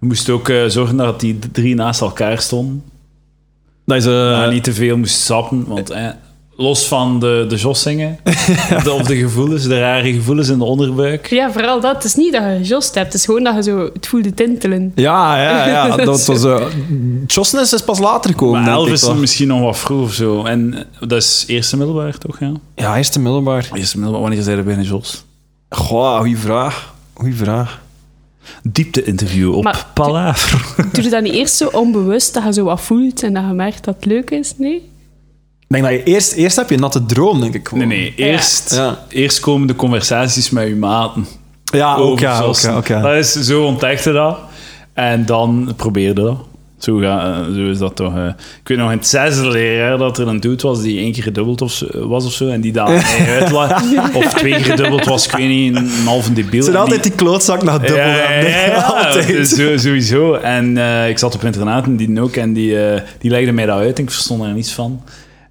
Speaker 1: Je moest ook eh, zorgen dat die d- drie naast elkaar stonden.
Speaker 2: Dat is... eh,
Speaker 1: En niet te veel moest sappen, want eh, los van de, de jossingen, de, of de gevoelens, de rare gevoelens in de onderbuik.
Speaker 3: Ja, vooral dat. Het is niet dat je jost hebt. Het is gewoon dat je zo het voelde tintelen.
Speaker 2: Ja, ja, ja. Dat was, eh Josnes is pas later gekomen.
Speaker 1: Maar
Speaker 2: denk ik
Speaker 1: Elvis
Speaker 2: wel.
Speaker 1: is misschien nog wat vroeg of zo. En eh, dat is eerste middelbaar, toch? Ja?
Speaker 2: Ja, eerste middelbaar.
Speaker 1: Eerste middelbaar, wanneer zijn er bijna Jos?
Speaker 2: Goh, goeie vraag. Goeie vraag.
Speaker 1: Diepte-interview op
Speaker 3: Maar-
Speaker 1: Palaver.
Speaker 3: Doe je dat niet eerst zo onbewust, dat je zo wat voelt en dat je merkt dat het leuk is? Nee?
Speaker 2: Ik denk dat je eerst, eerst heb je een natte droom, denk ik.
Speaker 1: Nee,
Speaker 2: gewoon.
Speaker 1: nee. Eerst,
Speaker 2: Ja.
Speaker 1: eerst komen de conversaties met uw maten.
Speaker 2: Ja, ook ja, ook
Speaker 1: Overzossen.
Speaker 2: ja, ook ja.
Speaker 1: Dat is, zo ontdekte dat. En dan probeerde dat. Zo, ga, eh, zo is dat toch. eh. Ik weet nog in het zesde leerjaar dat er een dude was die één keer gedubbeld of, zo- eh, was of zo. En die daar mij uitlaat. Of twee keer gedubbeld was, ik weet niet, een halve debiel.
Speaker 2: Het
Speaker 1: En
Speaker 2: zijn
Speaker 1: die-
Speaker 2: altijd die klootzak naar dubbel.
Speaker 1: ja,
Speaker 2: gaan.
Speaker 1: ja, ja, ja,
Speaker 2: altijd.
Speaker 1: dus zo- sowieso. En eh, ik zat op internaat en die ook. En die, eh, die legde mij dat uit en ik verstond er niets van.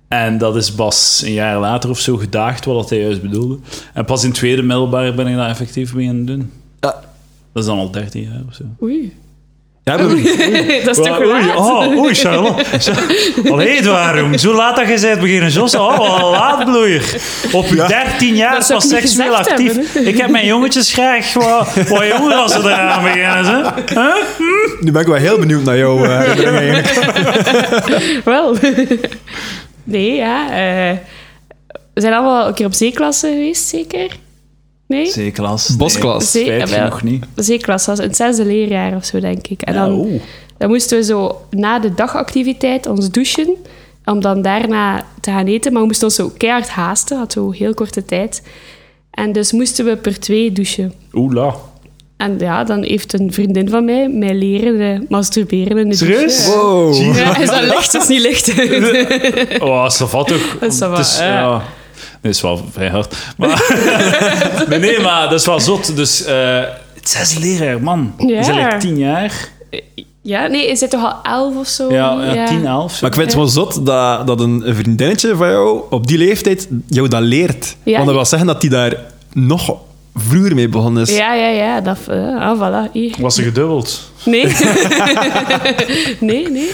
Speaker 1: En dat is pas een jaar later of zo gedaagd wat dat hij juist bedoelde. En pas in tweede middelbaar ben ik dat effectief mee aan het doen.
Speaker 2: Ja.
Speaker 1: Dat is dan al 13 jaar of zo.
Speaker 3: Oei.
Speaker 2: Ja, maar-
Speaker 3: dat is toch
Speaker 1: Wel, oei,
Speaker 3: laat?
Speaker 1: oh, oei, Charlotte. Char- Allee, waarom? Zo laat dat je bent beginnen jossen. Oh, wat een laadbloeier. Op je 13 jaar
Speaker 3: Dat zou
Speaker 1: pas
Speaker 3: ik niet
Speaker 1: seksueel
Speaker 3: gezegd
Speaker 1: actief.
Speaker 3: hebben, hè.
Speaker 1: ik heb mijn jongetjes graag wat, wat jonger als ze eraan beginnen. Hè? Huh?
Speaker 2: nu ben ik wel heel benieuwd naar jou. eh, herinnering eigenlijk.
Speaker 3: Wel. nee, ja. eh, we zijn allemaal een keer op zeeklasse geweest, zeker? Nee?
Speaker 1: C-klas.
Speaker 2: Bosklas.
Speaker 3: Zee-
Speaker 1: Spijtig
Speaker 3: jawel.
Speaker 1: nog niet.
Speaker 3: Zeeklasse, was in het zesde leerjaar of zo, denk ik. En
Speaker 1: Ja,
Speaker 3: dan,
Speaker 1: oeh.
Speaker 3: dan moesten we zo na de dagactiviteit ons douchen, om dan daarna te gaan eten. Maar we moesten ons zo keihard haasten, had zo heel korte tijd. En dus moesten we per twee douchen.
Speaker 1: Oela.
Speaker 3: En ja, dan heeft een vriendin van mij mij leren eh, masturberen in de
Speaker 1: Serieus?
Speaker 3: douche.
Speaker 2: Wow.
Speaker 3: Ja, is dat licht? Dat is niet licht.
Speaker 1: Oh, ça va toch?
Speaker 3: Dat is ça va,
Speaker 1: Het is-
Speaker 3: ja.
Speaker 1: ja. Nee, is wel vrij hard. Maar, nee, nee, maar dat is wel zot. Dus eh, het zes leraar, man.
Speaker 3: Ja.
Speaker 1: Is eigenlijk tien jaar?
Speaker 3: Ja, nee, is het toch al elf of zo?
Speaker 1: Ja, ja, tien, elf. zo.
Speaker 2: Maar ik vind het wel zot dat, dat een vriendinnetje van jou op die leeftijd jou dat leert.
Speaker 3: Ja.
Speaker 2: Want dat wil zeggen dat die daar nog vroeger mee begonnen is.
Speaker 3: Ja, ja, ja. Dat, eh, ah, voilà, hier.
Speaker 1: Was ze gedubbeld?
Speaker 3: Nee. nee, nee.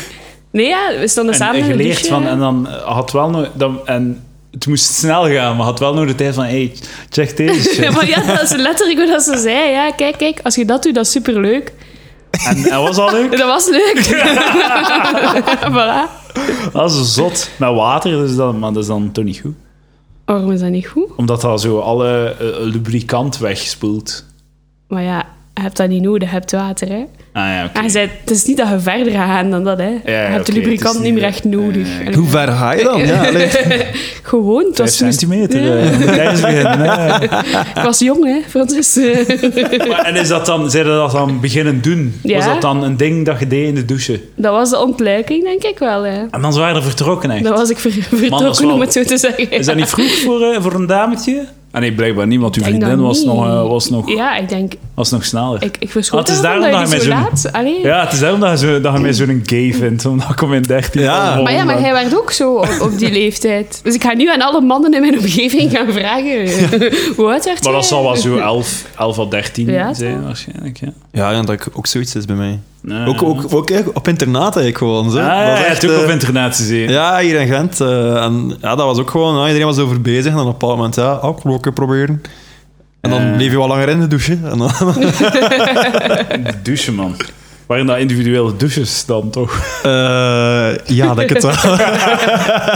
Speaker 3: Nee, ja, we stonden
Speaker 1: En,
Speaker 3: samen
Speaker 1: en
Speaker 3: in een
Speaker 1: geleerd
Speaker 3: douche,
Speaker 1: van,
Speaker 3: ja.
Speaker 1: en dan eh, had wel nog... Dan, en het moest snel gaan, maar had wel nog de tijd van... Hey, check deze shit.
Speaker 3: Ja, maar ja, dat is letterlijk hoe dat ze zei. Ja, kijk, kijk, als je dat doet, dat is superleuk.
Speaker 1: En dat was al leuk.
Speaker 3: Dat was leuk. voilà.
Speaker 1: Dat is zot. Met water, dus dan, maar dat is dan toch niet goed.
Speaker 3: Waarom is dat niet goed?
Speaker 1: Omdat dat zo alle eh, lubricant wegspoelt.
Speaker 3: Maar ja, je hebt dat niet nodig, je hebt water, hè.
Speaker 1: Ah ja, oké.
Speaker 3: En je zei, het is niet dat je verder gaat gaan dan dat, hè. je
Speaker 1: ja,
Speaker 3: hebt de
Speaker 1: oké, het
Speaker 3: lubricant
Speaker 1: is
Speaker 3: niet meer
Speaker 1: niet-
Speaker 3: echt nodig.
Speaker 1: eh,
Speaker 3: Allee,
Speaker 2: Hoe ver ga je dan? Ja, allee.
Speaker 3: Gewoon, het
Speaker 1: Vijf
Speaker 3: was, moest-
Speaker 1: centimeter.
Speaker 3: Ja,
Speaker 1: eh, moet jij eens beginnen, hè.
Speaker 3: ik was jong, hè, Francis.
Speaker 1: Maar, en is dat dan, zijn dat dan beginnen doen?
Speaker 3: Ja.
Speaker 1: Was dat dan een ding dat je deed in de douche?
Speaker 3: dat was de ontluiking, denk ik wel, hè.
Speaker 1: En dan waren er vertrokken echt.
Speaker 3: Dat was ik ver- vertrokken,
Speaker 1: dat is wel-
Speaker 3: om het zo te zeggen.
Speaker 1: Is dat niet vroeg voor, eh, voor een dametje? Ah nee, blijkbaar niet, want uw
Speaker 3: Ik denk
Speaker 1: vriendin
Speaker 3: dat
Speaker 1: was
Speaker 3: niet.
Speaker 1: nog, eh, was, nog,
Speaker 3: Ja, ik denk...
Speaker 1: was nog sneller.
Speaker 3: Ik, ik
Speaker 1: Ah,
Speaker 3: verschoot
Speaker 1: het is
Speaker 3: ervan
Speaker 1: daarom
Speaker 3: dat je
Speaker 1: dat
Speaker 3: zo
Speaker 1: je mij
Speaker 3: laat... Allee.
Speaker 1: Ja, het is daarom dat je, zo- dat je mij zo'n gay vindt, omdat ik om in 13
Speaker 2: Ja.
Speaker 1: al rond
Speaker 3: Maar ja, maar
Speaker 1: ben.
Speaker 3: jij werd ook zo op, op die leeftijd. Dus ik ga nu aan alle mannen in mijn omgeving gaan vragen. Hoe oud werd
Speaker 1: Maar dat
Speaker 3: jij?
Speaker 1: zal wel zo 11, 11 of 13
Speaker 3: Ja,
Speaker 1: zijn,
Speaker 3: toch?
Speaker 1: waarschijnlijk. Ja.
Speaker 2: ja, ja, dat ook zoiets is bij mij.
Speaker 1: Nee.
Speaker 2: Ook, ook, ook eh, op internaat eigenlijk gewoon. Zo.
Speaker 1: Ah,
Speaker 2: Dat
Speaker 1: ja,
Speaker 2: was
Speaker 1: ja,
Speaker 2: echt,
Speaker 1: het ook
Speaker 2: eh,
Speaker 1: op internaat gezien.
Speaker 2: Ja, hier in Gent. eh, en ja, dat was ook gewoon, ja, iedereen was over bezig. En dan op een bepaald moment, ja, oh, ook wel een keer proberen. En dan
Speaker 1: Eh.
Speaker 2: bleef je wel langer in de douche. En dan,
Speaker 1: De douche, man. Waren dat individuele douches dan toch?
Speaker 2: Eh, ja, dat ik het wel.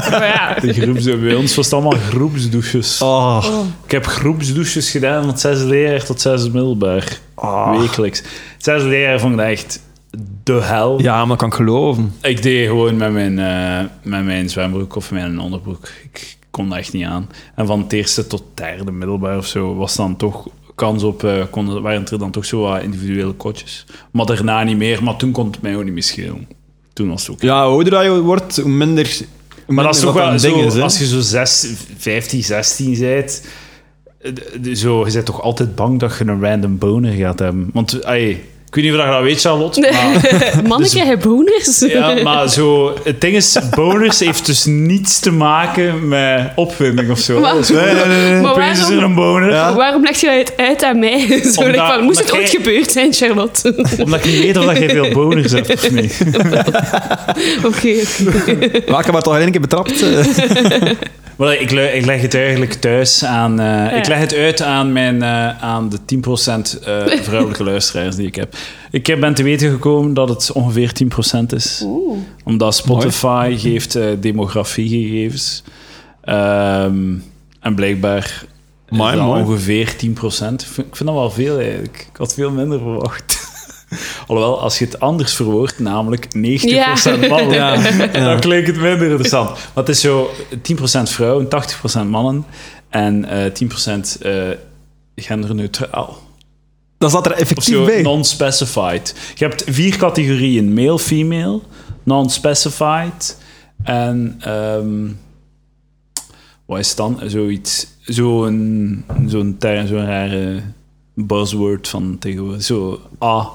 Speaker 3: Maar ja.
Speaker 1: De groeps, bij ons was het allemaal groepsdouches.
Speaker 2: Oh,
Speaker 3: Oh.
Speaker 1: Ik heb groepsdouches gedaan van 6 leraar tot 6 middelbaar.
Speaker 2: Ah.
Speaker 1: Wekelijks. 6 leraar vond ik dat echt de hel.
Speaker 2: Ja, maar dat kan ik geloven.
Speaker 1: Ik deed gewoon met mijn, eh, met mijn zwembroek of mijn onderbroek. Ik kon dat echt niet aan. En van het eerste tot derde middelbaar of zo was dan toch kans op... eh, konden, waren er dan toch zo wat individuele kotjes. Maar daarna niet meer. Maar toen kon het mij ook niet meer schelen. Toen was het ook
Speaker 2: Ja, hoe ouder dat je wordt, hoe minder... hoe
Speaker 1: Maar dat
Speaker 2: minder
Speaker 1: is toch
Speaker 2: een
Speaker 1: wel
Speaker 2: ding
Speaker 1: zo,
Speaker 2: is, hè.
Speaker 1: als je zo zes, 15, 16 bent, eh, d- zo, je bent toch altijd bang dat je een random boner gaat hebben. Want, ai, ik weet niet of je dat weet, Charlotte, maar,
Speaker 3: Mannen krijgen boners.
Speaker 1: Dus- ja, maar zo, het ding is, boners heeft dus niets te maken met opwinding of zo.
Speaker 3: Maar-
Speaker 1: Dus
Speaker 2: Nee, nee, nee, nee.
Speaker 3: Maar
Speaker 1: Opeens is er
Speaker 3: waarom,
Speaker 1: een boner.
Speaker 2: Ja.
Speaker 3: waarom leg je het uit aan mij? Zo,
Speaker 1: Omdat-
Speaker 3: like van, moest het
Speaker 1: omdat
Speaker 3: ooit
Speaker 1: jij-
Speaker 3: gebeurd zijn, Charlotte? Oké,
Speaker 1: Omdat je niet weet of dat je veel boners hebt of niet.
Speaker 3: oké.
Speaker 2: Ja, ik heb haar toch al één keer betrapt. eh.
Speaker 1: Maar ik, le- ik leg het eigenlijk thuis aan... eh, Ik
Speaker 3: Ja.
Speaker 1: leg het uit aan, mijn, eh, aan de 10% eh, vrouwelijke luisteraars die ik heb. Ik heb- ben te weten gekomen dat het ongeveer 10% is. Omdat Spotify geeft eh, demografiegegevens. Ehm, en blijkbaar is
Speaker 2: Mooi,
Speaker 1: dat
Speaker 2: mooi.
Speaker 1: ongeveer 10%. Ik vind, ik vind dat wel veel eigenlijk. Ik had veel minder verwacht. Alhoewel, als je het anders verwoordt, namelijk 90% mannen, dan klinkt het minder interessant. Maar het is zo 10% vrouwen, 80% mannen en eh 10% eh genderneutraal.
Speaker 2: Dat zat er
Speaker 1: Of
Speaker 2: effectief
Speaker 1: zo
Speaker 2: bij.
Speaker 1: non-specified. Je hebt vier categorieën: male, female, non-specified en. ehm, wat is het dan? Zoiets. Zo'n zo'n term, zo'n rare buzzword van tegenwoordig. Zo. Ah.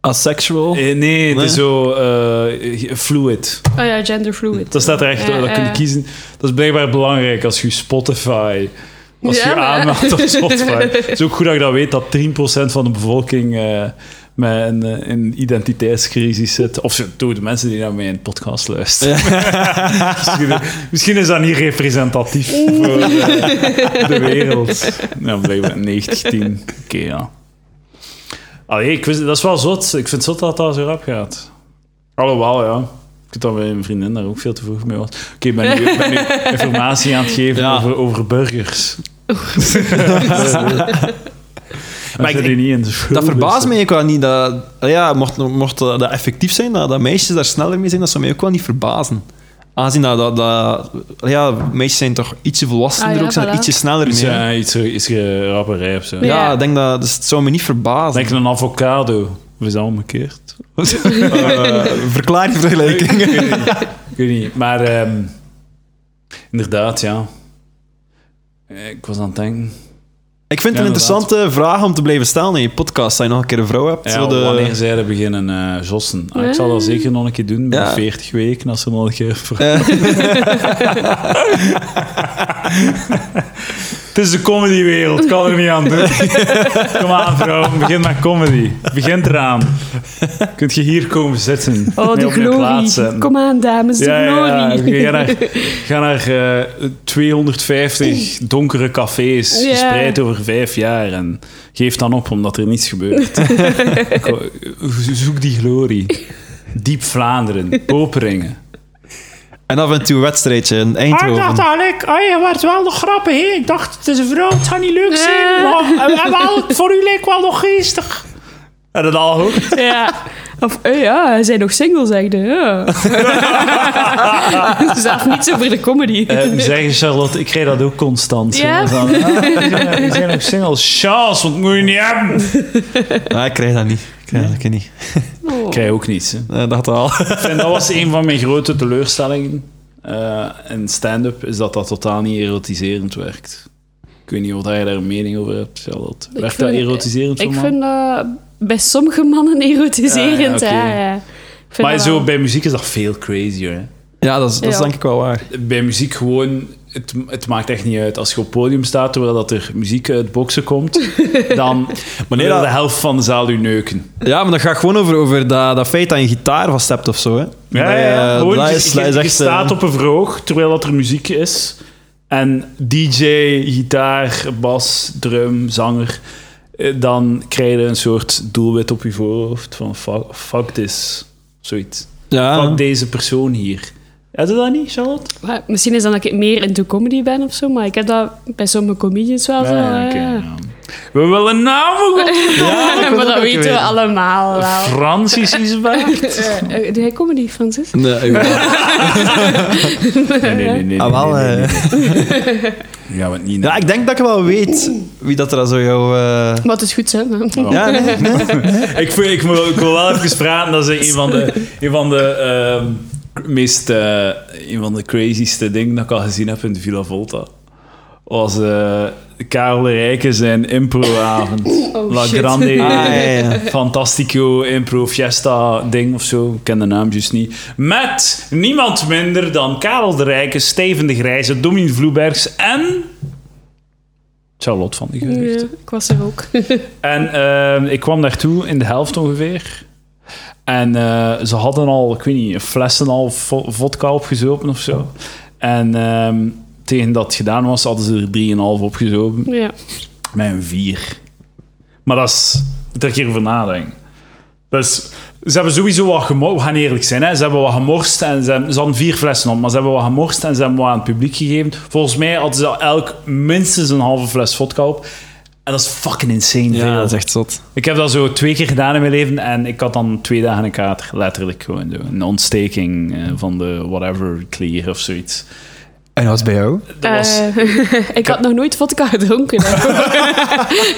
Speaker 2: Asexual.
Speaker 1: Eh, nee, het is
Speaker 2: Nee?
Speaker 1: zo. eh, fluid.
Speaker 3: Oh ja, genderfluid. Eh,
Speaker 1: Dat staat er echt.
Speaker 3: Ja,
Speaker 1: dat kun je
Speaker 3: ja.
Speaker 1: kiezen. Dat is blijkbaar belangrijk als je Spotify. Als
Speaker 3: Ja,
Speaker 1: je
Speaker 3: maar-
Speaker 1: aanmaakt op Spotify. Het is ook goed dat je dat weet, dat 10% van de bevolking eh, met een, eh, een identiteitscrisis zit. Of zo, door de mensen die naar mijn podcast luisteren. misschien, misschien is dat niet representatief voor eh, de wereld. Nou, blijkbaar 19. Oké, ja. Allee, Ah, ik wist- dat is wel zot. Ik vind het zot dat dat zo rap gaat. Alhoewel, ja. Ik weet dat mijn vriendin daar ook veel te vroeg mee was. Oké, ik ben nu- ik ben nu informatie aan het geven
Speaker 2: Ja.
Speaker 1: over, over burgers. maar ik
Speaker 2: ik-
Speaker 1: die niet in de dus
Speaker 2: Dat
Speaker 1: schulden
Speaker 2: verbaast
Speaker 1: zitten.
Speaker 2: mij ook wel niet. Dat, ah ja, mocht, mocht dat effectief zijn, dat, dat meisjes daar sneller mee zijn, dat zou mij ook wel niet verbazen. Aangezien dat, dat, dat ah ja, meisjes zijn toch ietsje volwassener
Speaker 3: Ah, ja,
Speaker 2: ook, zijn er
Speaker 3: voilà.
Speaker 2: ietsje sneller mee.
Speaker 1: Iets,
Speaker 2: Ja,
Speaker 1: ja, iets, iets eh, rapperij of zo.
Speaker 3: Nee. Ja.
Speaker 2: ik denk dat, dus het zou me niet verbazen.
Speaker 1: Denk aan een avocado. Of is dat omgekeerd?
Speaker 2: Eh, verklaar je vergelijking.
Speaker 1: Ik weet niet. Maar ehm, inderdaad, ja. Eh, Ik was aan het denken.
Speaker 2: Ik vind
Speaker 1: Ja,
Speaker 2: het een interessante vraag om te blijven stellen in je podcast, dat je nog een keer een vrouw hebt.
Speaker 1: Ja,
Speaker 2: zo de-
Speaker 1: Wanneer zij er beginnen eh, jossen. Ah, ik zal dat zeker nog een keer doen, binnen
Speaker 2: Ja.
Speaker 1: 40 weken, als ze nog een keer...
Speaker 2: Eh.
Speaker 1: Het is de comedywereld, kan er niet aan doen. Kom aan, vrouw, begin met comedy. Begin eraan. Kunt je hier komen zitten?
Speaker 3: Oh,
Speaker 1: Nee,
Speaker 3: de
Speaker 1: op je plaats
Speaker 3: glorie.
Speaker 1: zetten.
Speaker 3: Kom aan, dames, de
Speaker 1: Ja, ja,
Speaker 3: glorie.
Speaker 1: ja. Ga naar, ga naar eh, 250 donkere cafés,
Speaker 3: Ja.
Speaker 1: gespreid over vijf jaar. En geef dan op, omdat er niets gebeurt. Ko- Zoek die glorie. Diep Vlaanderen, Poperingen.
Speaker 2: En af en toe een wedstrijdje in
Speaker 1: Ah,
Speaker 2: Eindhoven.
Speaker 1: Alec, oh je werd wel nog grappig. Hè? Ik dacht, het is een vrouw, het gaat niet leuk
Speaker 3: zijn, maar-
Speaker 1: voor u leek wel nog geestig. En dat al ook.
Speaker 3: Ja. Of, eh, ja, hij zijn nog single, zegde. Ja. Zelf niets over de comedy.
Speaker 1: Eh, zeggen Charlotte, ik kreeg dat ook constant.
Speaker 3: Ja.
Speaker 1: Zo van, ah, die zijn- die zijn ook single. Charles, wat moet je niet hebben?
Speaker 2: Nee, Ah, ik krijg dat niet. Ik krijg dat niet.
Speaker 3: Oh.
Speaker 1: Ik krijg ook niets. Hè.
Speaker 2: Eh, dat wel.
Speaker 1: En dat was een van mijn grote teleurstellingen eh in stand-up, is dat dat totaal niet erotiserend werkt. Ik weet niet of jij daar een mening over hebt, Charlotte.
Speaker 3: Ik
Speaker 1: Werkt dat
Speaker 3: vind-
Speaker 1: erotiserend voor
Speaker 3: Ik
Speaker 1: mannen?
Speaker 3: vind dat bij sommige mannen erotiserend.
Speaker 1: Ja, ja,
Speaker 3: Ja,
Speaker 1: oké.
Speaker 3: ja. Ik vind
Speaker 1: Maar
Speaker 3: dat
Speaker 1: zo,
Speaker 3: wel-
Speaker 1: bij muziek is dat veel crazier. Hè?
Speaker 2: Ja, dat is, dat is
Speaker 3: Ja.
Speaker 2: denk ik wel waar.
Speaker 1: bij muziek gewoon. Het, het maakt echt niet uit. Als je op het podium staat terwijl dat er muziek uit boksen komt, dan wanneer
Speaker 2: dat-
Speaker 1: de helft van de zaal u neuken.
Speaker 2: Ja, maar dat gaat gewoon over, over dat, dat feit dat je een gitaar vast hebt of zo. Hè.
Speaker 1: Ja, ja,
Speaker 2: Eh,
Speaker 1: ja. Gewoon,
Speaker 2: dat
Speaker 1: je-
Speaker 2: is,
Speaker 1: je,
Speaker 2: dat is
Speaker 1: je
Speaker 2: echt, eh,
Speaker 1: staat op een vroog terwijl dat er muziek is. En DJ, gitaar, bas, drum, zanger. eh, Dan krijg je een soort doelwit op je voorhoofd van fuck, fuck this. Zoiets.
Speaker 2: ja.
Speaker 1: Fuck deze persoon hier. Heb je dat niet, Charlotte?
Speaker 3: Maar misschien is dat ik meer into comedy ben of zo, maar ik heb dat bij sommige comedians wel eh, zo.
Speaker 1: Ja, oké,
Speaker 3: ja.
Speaker 1: ja. We willen namen goed
Speaker 2: ik wil
Speaker 3: maar
Speaker 2: dat
Speaker 3: dat
Speaker 2: ook
Speaker 3: weten we
Speaker 2: weten.
Speaker 3: allemaal wel.
Speaker 1: Francis is weg.
Speaker 3: Eh, eh, Doe jij comedy, Francis?
Speaker 2: Nee, ja.
Speaker 1: Nee, nee, nee. nee,
Speaker 2: Ah, wel,
Speaker 1: nee, nee, nee.
Speaker 2: eh.
Speaker 1: Ja, want niet.
Speaker 2: ja, ik denk dat ik wel weet wie dat er dan zo jou... eh,
Speaker 3: Wat is goed, hè?
Speaker 1: Oh.
Speaker 2: Ja, nee, nee.
Speaker 1: ik, wil- ik, wil, ik wil wel even praten. Dat is een van de, een van de ehm, meest, eh, een van de crazyste dingen dat ik al gezien heb in de Villa Volta. Was eh Karel de Rijken zijn improavond.
Speaker 3: Oh,
Speaker 1: La
Speaker 3: shit.
Speaker 1: Grande
Speaker 2: Ah, ja, ja, ja.
Speaker 1: Fantastico Impro Fiesta ding of zo. Ik ken de naam juist niet. Met niemand minder dan Karel de Rijken, Steven de Grijze, Domien Vloebergs en... Charlotte van die Geugd.
Speaker 3: Ja, ik was er ook.
Speaker 1: En eh, ik kwam daartoe in de helft ongeveer. En eh, ze hadden al, ik weet niet, een fles en al vo- vodka opgezopen of zo. En ehm, tegen dat het gedaan was, hadden ze er 3,5 opgezopen.
Speaker 3: ja.
Speaker 1: Met een 4. Maar dat is... Daar keer over nadenken. Dus ze hebben sowieso wat gemorst. We gaan eerlijk zijn, hè. Ze hebben wat gemorst en ze, hebben, ze hadden vier flessen op, maar ze hebben wat gemorst en ze hebben wat aan het publiek gegeven. Volgens mij hadden ze elk minstens een halve fles vodka op. En dat is fucking insane
Speaker 2: ja,
Speaker 1: veel.
Speaker 2: dat is echt zot.
Speaker 1: Ik heb dat zo twee keer gedaan in mijn leven en ik had dan twee dagen een kater. Letterlijk gewoon zo. Een ontsteking eh, van de whatever clear of zoiets.
Speaker 2: En wat is bij jou?
Speaker 1: Dat was...
Speaker 3: Eh, ik had nog nooit vodka gedronken.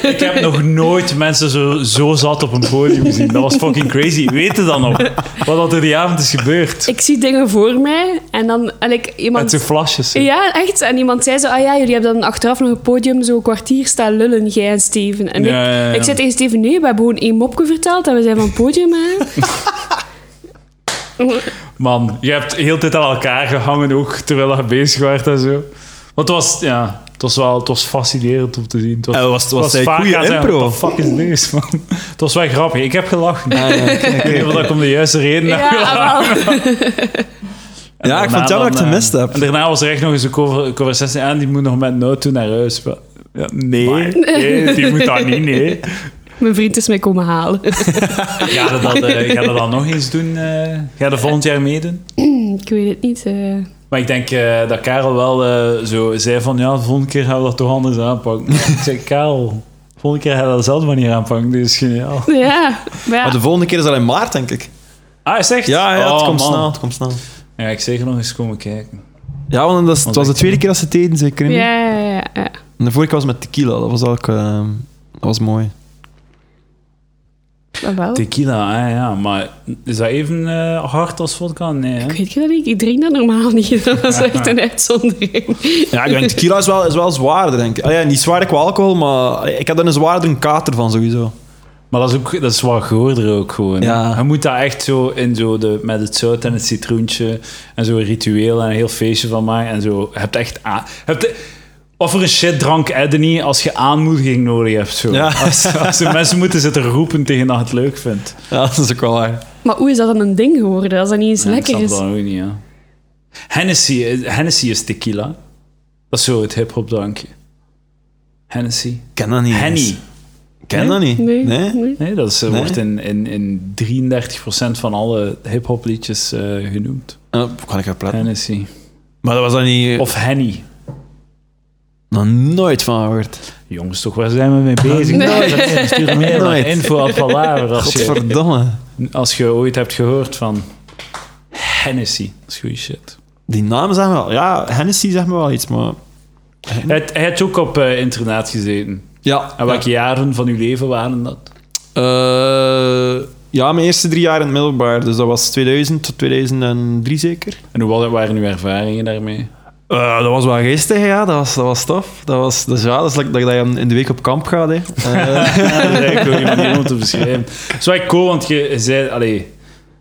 Speaker 1: Ik heb nog nooit mensen zo, zo zat op een podium gezien. Dat was fucking crazy. Weet je dan nog wat dat er die avond is gebeurd?
Speaker 3: ik zie dingen voor mij en dan... En ik,
Speaker 1: Met
Speaker 3: iemand,
Speaker 1: zijn flasjes.
Speaker 3: Ja, echt. En iemand zei zo, ah ja, jullie hebben dan achteraf nog een podium, zo'n kwartier staan lullen, jij en Steven. En
Speaker 1: Ja,
Speaker 3: ik,
Speaker 1: ja, ja.
Speaker 3: ik zei tegen Steven, nee, we hebben gewoon één mopje verteld en we zijn van het podium, hè.
Speaker 1: Man, je hebt heel de tijd aan elkaar gehangen ook, terwijl je bezig werd en zo. Want het was, ja, het was wel het was fascinerend om te zien. Het was,
Speaker 2: Eh, was-
Speaker 1: het
Speaker 2: was hij
Speaker 1: vaak
Speaker 2: goeie
Speaker 1: aan zijn,
Speaker 2: impro?
Speaker 1: What the fuck is this, man? Het was wel grappig. Ik heb gelachen. Ik weet niet of dat ik om de juiste reden heb
Speaker 3: Ja,
Speaker 1: gelachen.
Speaker 3: wel.
Speaker 1: En
Speaker 2: Ja,
Speaker 1: daarna
Speaker 2: ik vond het jammer dat ik het
Speaker 1: dan, eh,
Speaker 2: gemist heb.
Speaker 1: En daarna was er echt nog eens een cover- conversatie aan, die moet nog met nood toe naar huis. Maar- Ja, nee, nee, die moet dat niet, nee.
Speaker 3: Mijn vriend is mij komen halen.
Speaker 1: Ga je dat, eh, ga je dat nog eens doen? eh? ga je dat volgend jaar meedoen?
Speaker 3: ik weet het niet. eh.
Speaker 1: Maar ik denk eh, dat Karel wel eh, zo zei van, ja, de volgende keer gaan we dat toch anders aanpakken. Maar ik zeg, Karel, de volgende keer ga je dat op dezelfde manier aanpakken, dit is geniaal.
Speaker 3: Ja, maar ja.
Speaker 2: Maar de volgende keer is al in maart, denk ik.
Speaker 1: Ah, is echt?
Speaker 2: Ja, ja het,
Speaker 1: Oh,
Speaker 2: komt
Speaker 1: man.
Speaker 2: snel, het komt snel.
Speaker 1: Ja, ik zeker nog eens komen kijken.
Speaker 2: Ja, want dat is- het was de tweede keer dat ze het deden, zeker niet?
Speaker 3: Ja, ja, ja, ja.
Speaker 2: En de vorige keer was met tequila, dat was ook... ehm, dat was mooi.
Speaker 3: Ah, wel.
Speaker 1: Tequila, hè, ja. Maar is dat even eh, hard als vodka? Nee, hè?
Speaker 3: Ik weet het niet, ik drink dat normaal niet. Dat is echt een uitzondering.
Speaker 2: Ja, ik denk tequila is wel, is wel zwaarder, denk ik. Ah ja, niet zwaarder qua alcohol, maar ik had er een zwaardere kater van, sowieso.
Speaker 1: Maar dat is, ook, dat is wat goorder ook gewoon. hè.
Speaker 2: Ja.
Speaker 1: Je moet daar echt zo in zo de, met het zout en het citroentje en zo een ritueel en een heel feestje van maken. En zo. Je hebt echt aan... je hebt, wat voor een shit drank heb je niet als je aanmoediging nodig hebt? Zo.
Speaker 2: Ja.
Speaker 1: Als, als de mensen moeten zitten roepen tegen dat je het leuk vindt.
Speaker 2: Ja, dat is ook wel waar.
Speaker 3: Maar hoe is dat dan een ding geworden als dat niet eens
Speaker 1: Ja,
Speaker 3: lekker
Speaker 1: ik
Speaker 3: is?
Speaker 1: snap dat ook niet, ja. Hennessy, is- Hennessy is tequila. Dat is zo het hip-hop drankje. Hennessy.
Speaker 2: Ik ken dat niet.
Speaker 1: Henny.
Speaker 2: eens. Ik ken dat niet.
Speaker 3: Nee,
Speaker 2: Nee?
Speaker 3: nee.
Speaker 1: Nee, dat is, eh,
Speaker 2: Nee?
Speaker 1: wordt in, in, in 33% van alle hip-hop liedjes eh, genoemd.
Speaker 2: Oh, kan ik erop letten.
Speaker 1: Hennessy.
Speaker 2: Maar dat was dan niet...
Speaker 1: Of Henny.
Speaker 2: Nog nooit van gehoord.
Speaker 1: Jongens, toch, waar zijn we mee bezig? Nou,
Speaker 3: Nee.
Speaker 1: Dames en heren, Stuur meer naar
Speaker 2: Nooit.
Speaker 1: info at Palaver als je,
Speaker 2: Godverdomme.
Speaker 1: als je ooit hebt gehoord van Hennessy. Dat is goede shit.
Speaker 2: Die naam zeggen wel... Ja, Hennessy zegt me wel iets, maar...
Speaker 1: Hij had- hij had ook op eh, internaat gezeten.
Speaker 2: Ja.
Speaker 1: En welke jaren van uw leven waren dat?
Speaker 2: Eh, ja, mijn eerste drie jaar in het middelbaar. Dus dat was 2000 tot 2003 zeker.
Speaker 1: En hoe wa- waren uw ervaringen daarmee?
Speaker 2: Eh, dat was wel geestig, ja. Dat was, dat was tof. Dat was, dus ja, dat is like dat je dan in de week op kamp gaat, hè. Eh,
Speaker 1: Ja, dat is eigenlijk wel een manier om te beschrijven. Dat is wel cool, want je zei, allee,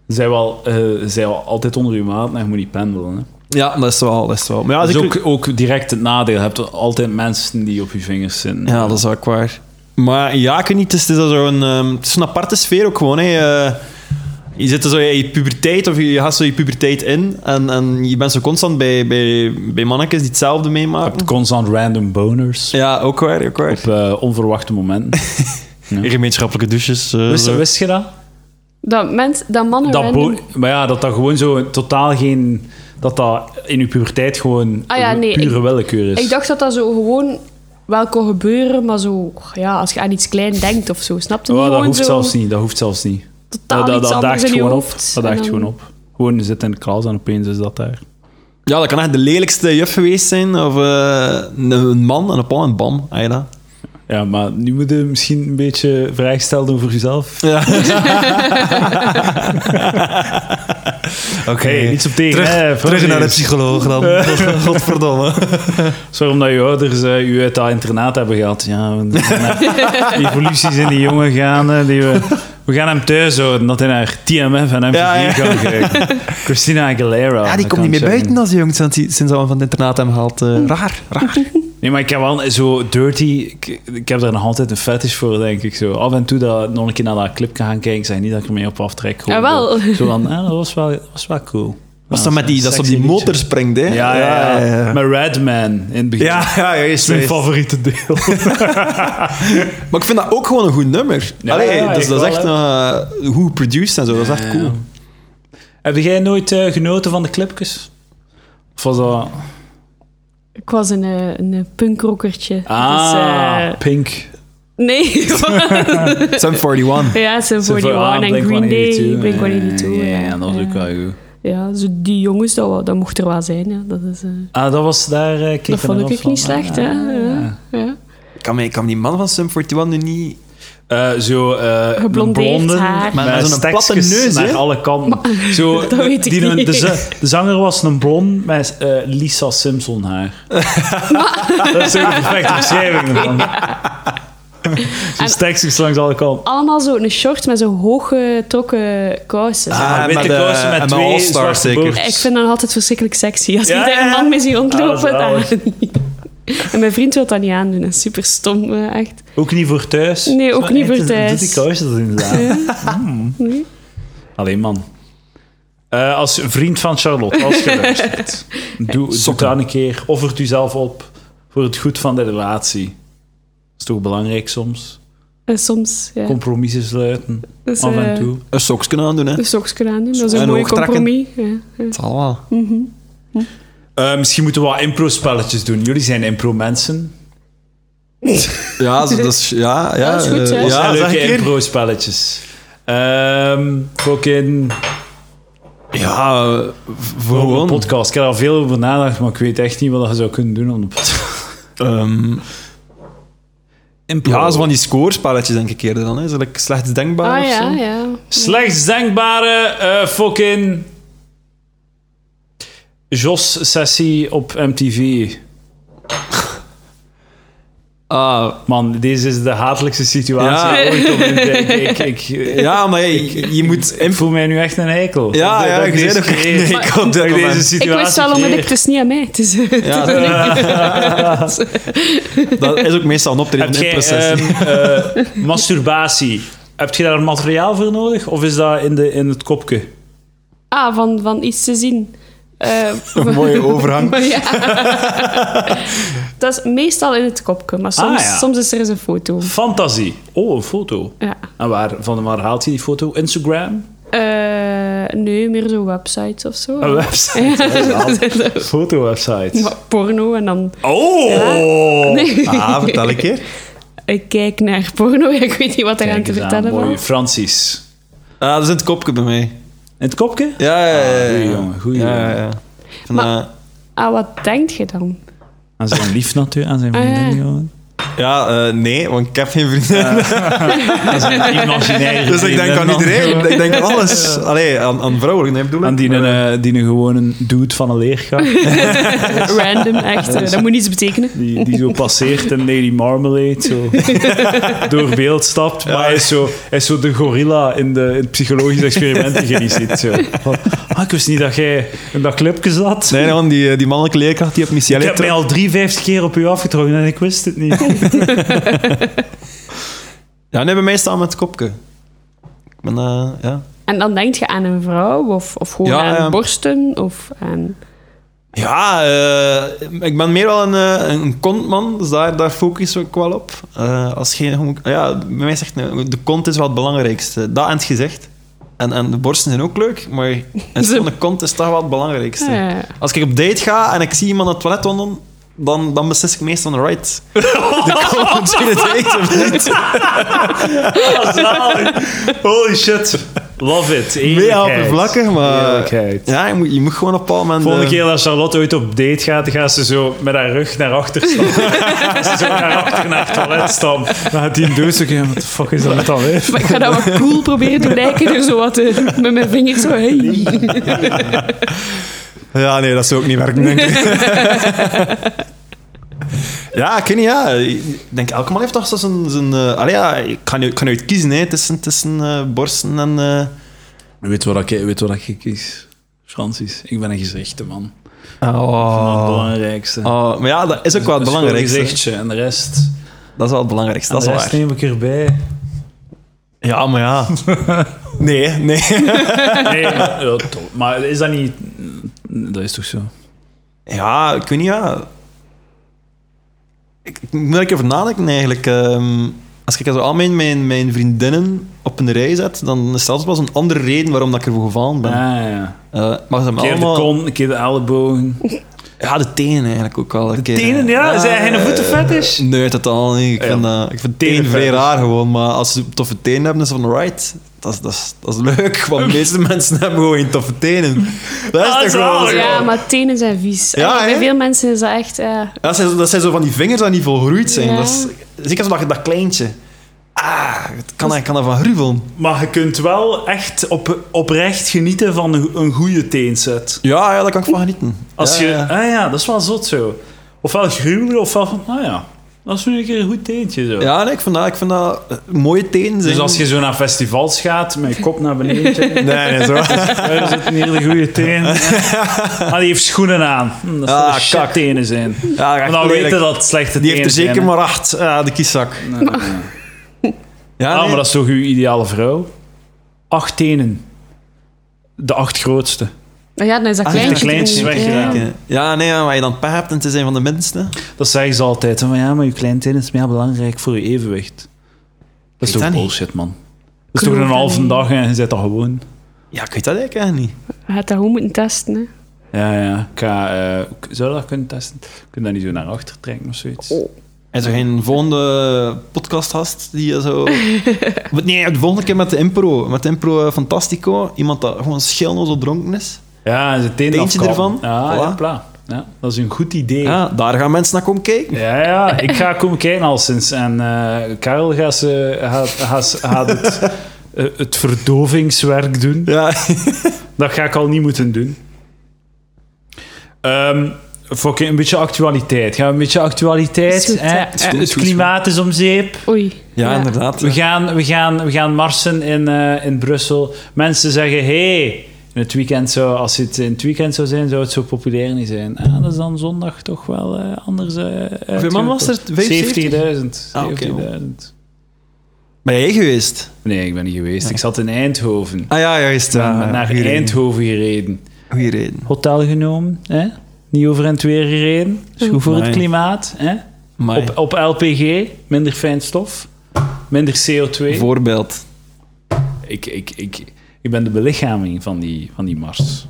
Speaker 1: je zei, wel, eh, je zei wel altijd onder je maat, maar je moet niet pendelen. Hè.
Speaker 2: ja, dat is wel... Dat is wel. Maar ja, dus
Speaker 1: dat is
Speaker 2: zeker-
Speaker 1: ook, ook direct het nadeel. Je hebt altijd mensen die op je vingers zitten.
Speaker 2: Ja, dat is ook waar. Maar ja, ik weet niet, het is, het is al zo'n, ehm, het is een aparte sfeer ook gewoon. Hè. Eh, je zit er zo in je puberteit, of je, je gaat zo je puberteit in. En, en je bent zo constant bij, bij, bij mannetjes die hetzelfde
Speaker 1: Je
Speaker 2: meemaken.
Speaker 1: hebt constant random boners
Speaker 2: Ja, ook waar, ook waar.
Speaker 1: op eh, onverwachte momenten.
Speaker 2: Gemeenschappelijke douches. eh,
Speaker 1: Wist,
Speaker 2: zo.
Speaker 1: wist je dat?
Speaker 3: Dat, mens, dat mannen
Speaker 1: dat
Speaker 3: random-
Speaker 1: bo- maar ja, dat dat gewoon zo totaal geen... Dat dat in je puberteit gewoon
Speaker 3: Ah ja, nee,
Speaker 1: pure
Speaker 3: ik-
Speaker 1: willekeur is.
Speaker 3: Ik dacht dat dat zo gewoon wel kon gebeuren, maar zo, och, ja, als je aan iets klein denkt of zo, snap je
Speaker 1: Oh,
Speaker 3: niet?
Speaker 1: dat
Speaker 3: Gewoon
Speaker 1: hoeft
Speaker 3: zo
Speaker 1: zelfs niet. Dat hoeft zelfs niet.
Speaker 3: Totaal
Speaker 1: dat,
Speaker 3: iets
Speaker 1: dat
Speaker 3: anders
Speaker 1: daagt
Speaker 3: in je
Speaker 1: gewoon op.
Speaker 3: hoofd.
Speaker 1: Dat
Speaker 3: en
Speaker 1: daagt
Speaker 3: dan-
Speaker 1: gewoon op. Gewoon je zit in de klas en opeens is dat daar.
Speaker 2: Ja, dat kan echt de lelijkste juf geweest zijn. Of eh, een man en een pan en bam. Ah, ja, dat.
Speaker 1: Ja, maar nu moet je misschien een beetje vragen stellen doen voor jezelf.
Speaker 2: Ja. Oké,
Speaker 1: Hey, niets op tegen.
Speaker 2: terug,
Speaker 1: hè, voor
Speaker 2: terug naar de
Speaker 1: deze.
Speaker 2: psycholoog dan. Godverdomme.
Speaker 1: Sorry omdat je ouders eh, u uit dat internaat hebben gehad. Ja, we- die evoluties in die jongen gaan. eh, die we, we gaan hem thuis houden, dat hij naar TMF en MTV
Speaker 2: Ja, ja.
Speaker 1: kan kijken. Christina Aguilera.
Speaker 2: Ja,
Speaker 1: dat
Speaker 2: die komt
Speaker 1: kan
Speaker 2: niet meer
Speaker 1: zeggen.
Speaker 2: buiten als jong, sinds hij sinds hij van het internaat hem haalt. eh, raar, raar.
Speaker 1: Nee, maar ik heb wel zo dirty... Ik, ik heb daar nog altijd een fetish voor, denk ik. Zo. Af en toe dat, nog een keer naar dat clip kan gaan kijken. Ik zeg niet dat ik ermee op aftrek. gewoon
Speaker 3: Jawel.
Speaker 1: zo- Zo van, ah, dat was wel, dat was wel cool.
Speaker 2: Was
Speaker 1: Ja,
Speaker 2: dat met die,
Speaker 1: een
Speaker 2: dat ze op
Speaker 1: sexy
Speaker 2: die
Speaker 1: liedje.
Speaker 2: motor springt, hè?
Speaker 1: Ja, ja, ja.
Speaker 2: ja.
Speaker 1: Met Redman in het begin.
Speaker 2: Ja, ja, ja,
Speaker 1: Dat
Speaker 2: juist,
Speaker 1: is mijn
Speaker 2: juist.
Speaker 1: favoriete deel.
Speaker 2: Maar ik vind dat ook gewoon een goed nummer.
Speaker 1: Ja,
Speaker 2: Allee,
Speaker 1: ja,
Speaker 2: dus
Speaker 1: ik
Speaker 2: dat is
Speaker 1: wel,
Speaker 2: echt eh, goed geproduced en zo, dat is echt cool.
Speaker 1: Heb jij nooit eh, genoten van de clipjes? Of was dat...
Speaker 3: Ik was een, eh, een punkrockertje.
Speaker 1: Ah,
Speaker 3: Dus, eh,
Speaker 1: Pink.
Speaker 3: nee,
Speaker 2: Sum 41.
Speaker 3: ja, ze
Speaker 1: Ze
Speaker 3: voor die
Speaker 1: voor- ah,
Speaker 3: One en Green Day,
Speaker 1: Blink-182.
Speaker 3: Blink 182.
Speaker 1: Ja, ja, dat was ook wel goed.
Speaker 3: Ja, zo die jongens, dat, wa- dat mocht er wel zijn. Ja. Dat, is, eh,
Speaker 1: Ah, dat was daar... eh, keek
Speaker 3: dat
Speaker 1: je
Speaker 3: vond
Speaker 1: nog
Speaker 3: ik ook
Speaker 1: van.
Speaker 3: niet slecht, hè.
Speaker 1: Ah,
Speaker 3: Ja, ja.
Speaker 2: Ik kan, me- ik kan me die man van Sum 41 nu niet...
Speaker 1: Eh, zo eh
Speaker 3: Geblondeerd
Speaker 1: een blonde,
Speaker 3: haar.
Speaker 2: Maar met zo'n
Speaker 1: stekjes
Speaker 2: platte neus,
Speaker 1: naar
Speaker 2: hè?
Speaker 1: alle kanten. Zo,
Speaker 3: dat weet ik
Speaker 1: die,
Speaker 3: niet.
Speaker 1: De, za- de zanger was een blond met eh, Lisa Simpson haar. dat is een perfecte beschrijving ervan. Zo'n stekjes langs alle kanten.
Speaker 3: Allemaal zo een short met zo'n hooggetrokken kousen.
Speaker 2: Ah,
Speaker 1: Ah, witte
Speaker 2: met, eh,
Speaker 1: kousen met
Speaker 2: en met
Speaker 1: twee
Speaker 2: All-Star
Speaker 1: zwarte
Speaker 2: zeker.
Speaker 1: boordjes.
Speaker 3: Ik vind dat nog altijd verschrikkelijk sexy. Als
Speaker 1: Ja,
Speaker 3: ik daar
Speaker 1: ja,
Speaker 3: een
Speaker 1: ja.
Speaker 3: man mee zie
Speaker 1: Ah, dat
Speaker 3: rondlopen,
Speaker 1: is
Speaker 3: dan
Speaker 1: zalig.
Speaker 3: niet. En mijn vriend wil dat niet aandoen. Dat is super stom, eh, echt.
Speaker 1: Ook niet voor thuis.
Speaker 3: Nee, ook
Speaker 1: Zo,
Speaker 3: niet voor
Speaker 1: het is-
Speaker 3: thuis.
Speaker 1: Doet die kousen dat inderdaad. Mm.
Speaker 3: Nee.
Speaker 1: Allee, man. Eh, als vriend van Charlotte, als je luistert, doe, doe
Speaker 2: Sokken.
Speaker 1: dat een keer. Offer het uzelf op voor het goed van de relatie. Dat is toch belangrijk soms?
Speaker 3: En Eh, soms, ja.
Speaker 1: Compromissen sluiten,
Speaker 3: Dus,
Speaker 1: af en
Speaker 3: eh,
Speaker 1: toe.
Speaker 2: Een soksken aandoen, hè.
Speaker 3: De socks kunnen aandoen. Dat is
Speaker 2: En
Speaker 3: een mooi
Speaker 2: hoogtrakken.
Speaker 3: compromis. Ja, ja.
Speaker 2: Het zal wel.
Speaker 1: Eh, misschien moeten we wat impro-spelletjes doen. Jullie zijn impro-mensen.
Speaker 2: Ja, zo- dat is... Ja, ja.
Speaker 3: Dat is goed,
Speaker 2: eh,
Speaker 3: hè?
Speaker 1: Dat
Speaker 2: ja,
Speaker 1: zijn
Speaker 2: zeg
Speaker 1: leuke
Speaker 2: ik hier.
Speaker 1: impro-spelletjes. Ehm fucking
Speaker 2: Ja, eh, voor
Speaker 1: voor een
Speaker 2: gewoon...
Speaker 1: podcast. Ik heb er al veel over nagedacht, maar ik weet echt niet wat je zou kunnen doen op een podcast.
Speaker 2: Ehm,
Speaker 4: impro.
Speaker 2: Ja, zo van die scorespelletjes denk ik eerder dan. Hè. Zo, like, slechts denkbaar
Speaker 3: Ah
Speaker 2: of
Speaker 3: ja,
Speaker 2: zo.
Speaker 3: ja.
Speaker 1: Slechts denkbare eh, fucking. Jos-sessie op MTV.
Speaker 2: Ah,
Speaker 1: Man, deze is de hatelijkste situatie
Speaker 2: Ja.
Speaker 1: ooit op internet. Ik, ik, ik,
Speaker 2: ja, maar je, je moet...
Speaker 1: ik
Speaker 2: imp-
Speaker 1: voel mij nu echt een hekel.
Speaker 2: Ja,
Speaker 1: Dat-
Speaker 2: ja,
Speaker 1: dat
Speaker 2: ik
Speaker 1: deze
Speaker 2: zei het ook.
Speaker 1: creëer.
Speaker 2: Nee, ik had
Speaker 1: Dat
Speaker 2: dat
Speaker 1: ik
Speaker 2: moment.
Speaker 1: deze
Speaker 3: Ik
Speaker 1: situatie
Speaker 3: wist wel om
Speaker 1: creëer.
Speaker 3: het is niet aan mij. Het is, eh, het
Speaker 2: Ja,
Speaker 3: is aan ik.
Speaker 2: Dat is ook meestal een optreden
Speaker 1: Heb
Speaker 2: in
Speaker 1: jij
Speaker 2: proces.
Speaker 1: ehm, eh, masturbatie? Heb je daar materiaal voor nodig? Of is dat in, de, in het kopje?
Speaker 3: Ah, van, van iets te zien. Eh,
Speaker 2: Een mooie overhang.
Speaker 3: Maar ja. dat is meestal in het kopje, maar soms,
Speaker 1: Ah, ja.
Speaker 3: soms is er eens een foto.
Speaker 1: Fantasie. Oh, een foto.
Speaker 3: Ja.
Speaker 1: En waar, van waar haalt hij die foto? Instagram?
Speaker 3: Eh, nee, meer zo websites of zo.
Speaker 1: Een website. Een Fotowebsite.
Speaker 3: Maar porno en dan...
Speaker 1: Oh!
Speaker 3: Nee.
Speaker 2: Ah, vertel een keer.
Speaker 3: Ik kijk naar porno, ik weet niet wat er
Speaker 1: Kijk
Speaker 3: aan te
Speaker 1: eens
Speaker 3: vertellen
Speaker 1: mooie
Speaker 3: valt.
Speaker 1: Francis.
Speaker 2: Ah, dat is in het kopje bij mij.
Speaker 1: In het kopje?
Speaker 2: Ja, ja, ja. ja.
Speaker 1: Ah, Goeie jongen, goeie
Speaker 2: Ja,
Speaker 1: jongen.
Speaker 2: ja, ja. Van,
Speaker 3: Maar-
Speaker 2: eh,
Speaker 3: Ah, wat denk je dan?
Speaker 1: Aan zijn lief natuurlijk, aan zijn
Speaker 3: Ah, ja.
Speaker 1: vriendin gewoon.
Speaker 2: ja eh, nee, want ik heb geen vrienden.
Speaker 1: Aan zijn imaginaire
Speaker 2: dus ik denk
Speaker 1: vriendin
Speaker 2: aan
Speaker 1: dan
Speaker 2: iedereen.
Speaker 1: gewoon.
Speaker 2: Ik denk aan alles. Allee, aan, aan vrouwelijk, nee, bedoel ik.
Speaker 1: Aan die,
Speaker 2: Maar,
Speaker 1: een, eh, die een gewone dude van een leerkracht.
Speaker 3: Random, echt. eh, Dat moet niets betekenen.
Speaker 1: Die, die zo passeert en Lady Marmalade zo door beeld stapt. Maar hij is zo, hij is zo de gorilla in, de, in het psychologische experiment die je niet ziet. Zo. Van, ah, ik wist niet dat jij in dat clubje zat.
Speaker 2: Nee, nee, want die, eh, die mannelijke leerkracht die op Missy
Speaker 1: ik
Speaker 2: Elliott
Speaker 1: heb mij al 53 keer op u afgetrokken en ik wist het niet.
Speaker 2: Ja, nee, bij mij staan met het kopje. Ik ben, eh, ja.
Speaker 3: En dan denk je aan een vrouw, of, of gewoon
Speaker 2: Ja,
Speaker 3: aan
Speaker 2: ja.
Speaker 3: borsten, of aan...
Speaker 2: Ja, eh, ik ben meer wel een, eh, een kontman, dus daar, daar focus ik wel op. Eh, als geen, ja, bij mij zegt eh, de kont is wel het belangrijkste. Dat en het gezicht. En, en de borsten zijn ook leuk, maar een schone kont is toch wel het belangrijkste.
Speaker 3: eh,
Speaker 2: Als ik op date ga en ik zie iemand aan het toilet wandelen, dan, dan beslis ik meestal een right. De kont in het date of niet.
Speaker 1: Holy shit. Love it.
Speaker 2: Meer
Speaker 1: Eerlijkheid.
Speaker 2: oppervlakkig, maar...
Speaker 1: Eerlijkheid.
Speaker 2: Ja, je moet, je moet gewoon op een bepaald moment...
Speaker 1: Volgende
Speaker 2: eh,
Speaker 1: keer dat Charlotte ooit op date gaat, gaat ze zo met haar rug naar achter staan. ze zo naar achter naar het toilet staan. Dan gaat die een doos ook in. Wat de fuck is dat dan weer?
Speaker 3: Maar ik ga dat wat cool proberen te lijken, er zo wat eh, met mijn vingers zo... Hey.
Speaker 2: Ja, nee, dat zou ook niet werken, denk ik. ja, ik weet niet, ja. Ik denk, elke man heeft toch zo zijn... zijn eh, allee, ja, ik kan nu, ik kan nu het kiezen, hè, tussen, tussen eh, borsten en... eh,
Speaker 1: Weet wat ik, weet wat ik kies? Francis, ik ben een gezichte man. Ah. Het
Speaker 2: oh.
Speaker 1: belangrijkste.
Speaker 2: Oh, maar ja, dat is ook wel het belangrijkste.
Speaker 1: gezichtje en de rest.
Speaker 2: Dat is wel het belangrijkste, Ah, dat is
Speaker 1: de
Speaker 2: wel
Speaker 1: rest
Speaker 2: waar.
Speaker 1: neem ik erbij.
Speaker 2: Ja, maar ja. Nee, nee.
Speaker 1: Nee, maar, ja, toch. maar is dat niet. Dat is toch zo?
Speaker 2: Ja, ik weet niet, ja. Ik, ik moet er een keer over nadenken eigenlijk. Ehm, als ik zo al mijn, mijn, mijn vriendinnen op een rij zet, dan is dat wel eens een andere reden waarom dat ik ervoor gevallen ben.
Speaker 1: Ah, ja.
Speaker 2: Eh, maar ze hebben
Speaker 1: Een keer de
Speaker 2: allemaal...
Speaker 1: kont, een keer de ellebogen.
Speaker 2: Ja, de tenen eigenlijk ook wel. De
Speaker 1: Tenen, ja? Zijn jij geen voetenfetish?
Speaker 2: eh, Nee, totaal niet. Ik
Speaker 1: Ah, Ja.
Speaker 2: vind, eh, ik vind
Speaker 1: Tenen
Speaker 2: tenen vrij
Speaker 1: vet.
Speaker 2: raar gewoon, maar als ze toffe tenen hebben, is het van right. Dat is, dat, is, dat is leuk, want de meeste mensen hebben gewoon geen toffe tenen. Dat is
Speaker 1: Ah,
Speaker 2: toch gewoon
Speaker 1: zalig.
Speaker 2: zo.
Speaker 3: Ja, maar tenen zijn vies.
Speaker 2: Oh, Ja,
Speaker 3: Allee, bij
Speaker 2: hè?
Speaker 3: veel mensen is dat echt... eh,
Speaker 2: Dat zijn, dat zijn zo van die vingers die niet volgroeid zijn.
Speaker 3: Ja.
Speaker 2: Dat is, zeker zo dat, dat kleintje. Ah, het kan, ik kan ervan gruwelen.
Speaker 1: Maar je kunt wel echt op, oprecht genieten van een, een goede teenset.
Speaker 2: Ja, ja, daar kan ik van genieten.
Speaker 1: Als
Speaker 2: Ja,
Speaker 1: je,
Speaker 2: ja.
Speaker 1: ah ja, dat is wel zot zo. Ofwel gruwelen, ofwel van, nou ja, dat is nu een keer een goed teentje zo.
Speaker 2: Ja, nee, ik vind dat, ik vind dat eh, mooie tenen zijn.
Speaker 1: Dus als je zo naar festivals gaat, met je kop naar beneden, checken,
Speaker 2: Nee, nee, zo.
Speaker 1: daar zit een hele goede teen. Ah, die heeft schoenen aan. Hm, dat
Speaker 2: Ah,
Speaker 1: zullen shit
Speaker 2: kak.
Speaker 1: tenen zijn.
Speaker 2: Ja, echt
Speaker 1: Maar dan
Speaker 2: lelijk.
Speaker 1: weten dat het slechte
Speaker 2: Die
Speaker 1: tenen
Speaker 2: heeft er zeker
Speaker 1: zijn, hè.
Speaker 2: maar acht. Ah, de kieszak.
Speaker 1: Nee, nee, nee.
Speaker 2: Ja,
Speaker 1: Ah,
Speaker 2: nee.
Speaker 1: maar dat is toch uw ideale vrouw? Acht tenen. De acht grootste.
Speaker 3: nou ja, dan is dat
Speaker 2: Ah, ja,
Speaker 3: kleintje.
Speaker 1: de kleintjes
Speaker 3: erin.
Speaker 1: weggedaan.
Speaker 3: Ja.
Speaker 2: Ja, nee, maar je dan pech hebt en het is een van de minste.
Speaker 1: Dat zeggen ze altijd. hè, Van ja, maar je kleintenen is meer belangrijk voor je evenwicht. Dat is
Speaker 2: Ik weet dat
Speaker 1: toch
Speaker 2: niet.
Speaker 1: bullshit, man. Dat is
Speaker 3: Ik
Speaker 1: toch een
Speaker 3: geloof dat
Speaker 1: halve
Speaker 3: niet.
Speaker 1: dag en je zit dat gewoon.
Speaker 2: Ja, ik weet dat eigenlijk eigenlijk niet.
Speaker 3: Je gaat dat gewoon moeten testen. Hè.
Speaker 1: Ja, ja. Ik ga, eh, k- zou je dat kunnen testen? Kun je dat niet zo naar achter trekken of zoiets?
Speaker 2: Oh. En zo geen volgende podcastgast die zo... nee, de volgende keer met de impro. Met de impro eh, Fantastico. Iemand dat gewoon schilnoos dronken is.
Speaker 1: Ja, en zijn tenen
Speaker 2: Teentje
Speaker 1: afkappen.
Speaker 2: ervan?
Speaker 1: Ja,
Speaker 2: Voilà. Ah.
Speaker 1: ja, pla. Ja, dat is een goed idee.
Speaker 2: Ja, daar gaan mensen naar komen kijken.
Speaker 1: Ja, ja, ik ga komen kijken al sinds. En eh, Karel gaat, ze, gaat, gaat, gaat het, eh, het verdovingswerk doen.
Speaker 2: Ja,
Speaker 1: Dat ga ik al niet moeten doen. Ehm fucking een beetje actualiteit. Gaan we een beetje actualiteit?
Speaker 3: Is goed,
Speaker 1: hè?
Speaker 3: ja.
Speaker 1: Het- Het klimaat is om zeep.
Speaker 3: Oei.
Speaker 2: ja inderdaad.
Speaker 1: We gaan, we gaan, we gaan marsen in, eh, in Brussel. Mensen zeggen: hé, hey, in het weekend zou, als het in het weekend zou zijn, zou het zo populair niet zijn. Ah, dat is dan zondag toch wel eh, anders. eh, uitgekomen.
Speaker 2: man was er? 75?
Speaker 1: 70.000.
Speaker 2: Ah, oké.
Speaker 1: 70.000.
Speaker 2: Ben jij geweest?
Speaker 1: Nee, ik ben niet geweest. Ik zat in Eindhoven.
Speaker 2: Ah ja, juist. Ja,
Speaker 1: Ik ben naar
Speaker 2: goeie reden.
Speaker 1: Eindhoven gereden.
Speaker 2: Goeie reden.
Speaker 1: Hotel genomen, hè? niet over en het weer gereden. Is goed voor het
Speaker 2: Amai.
Speaker 1: klimaat. Hè?
Speaker 2: Amai.
Speaker 1: Op, op LPG, minder fijnstof, minder CO2.
Speaker 2: Voorbeeld.
Speaker 1: Ik, ik, ik, ik ben de belichaming van die, van die Mars.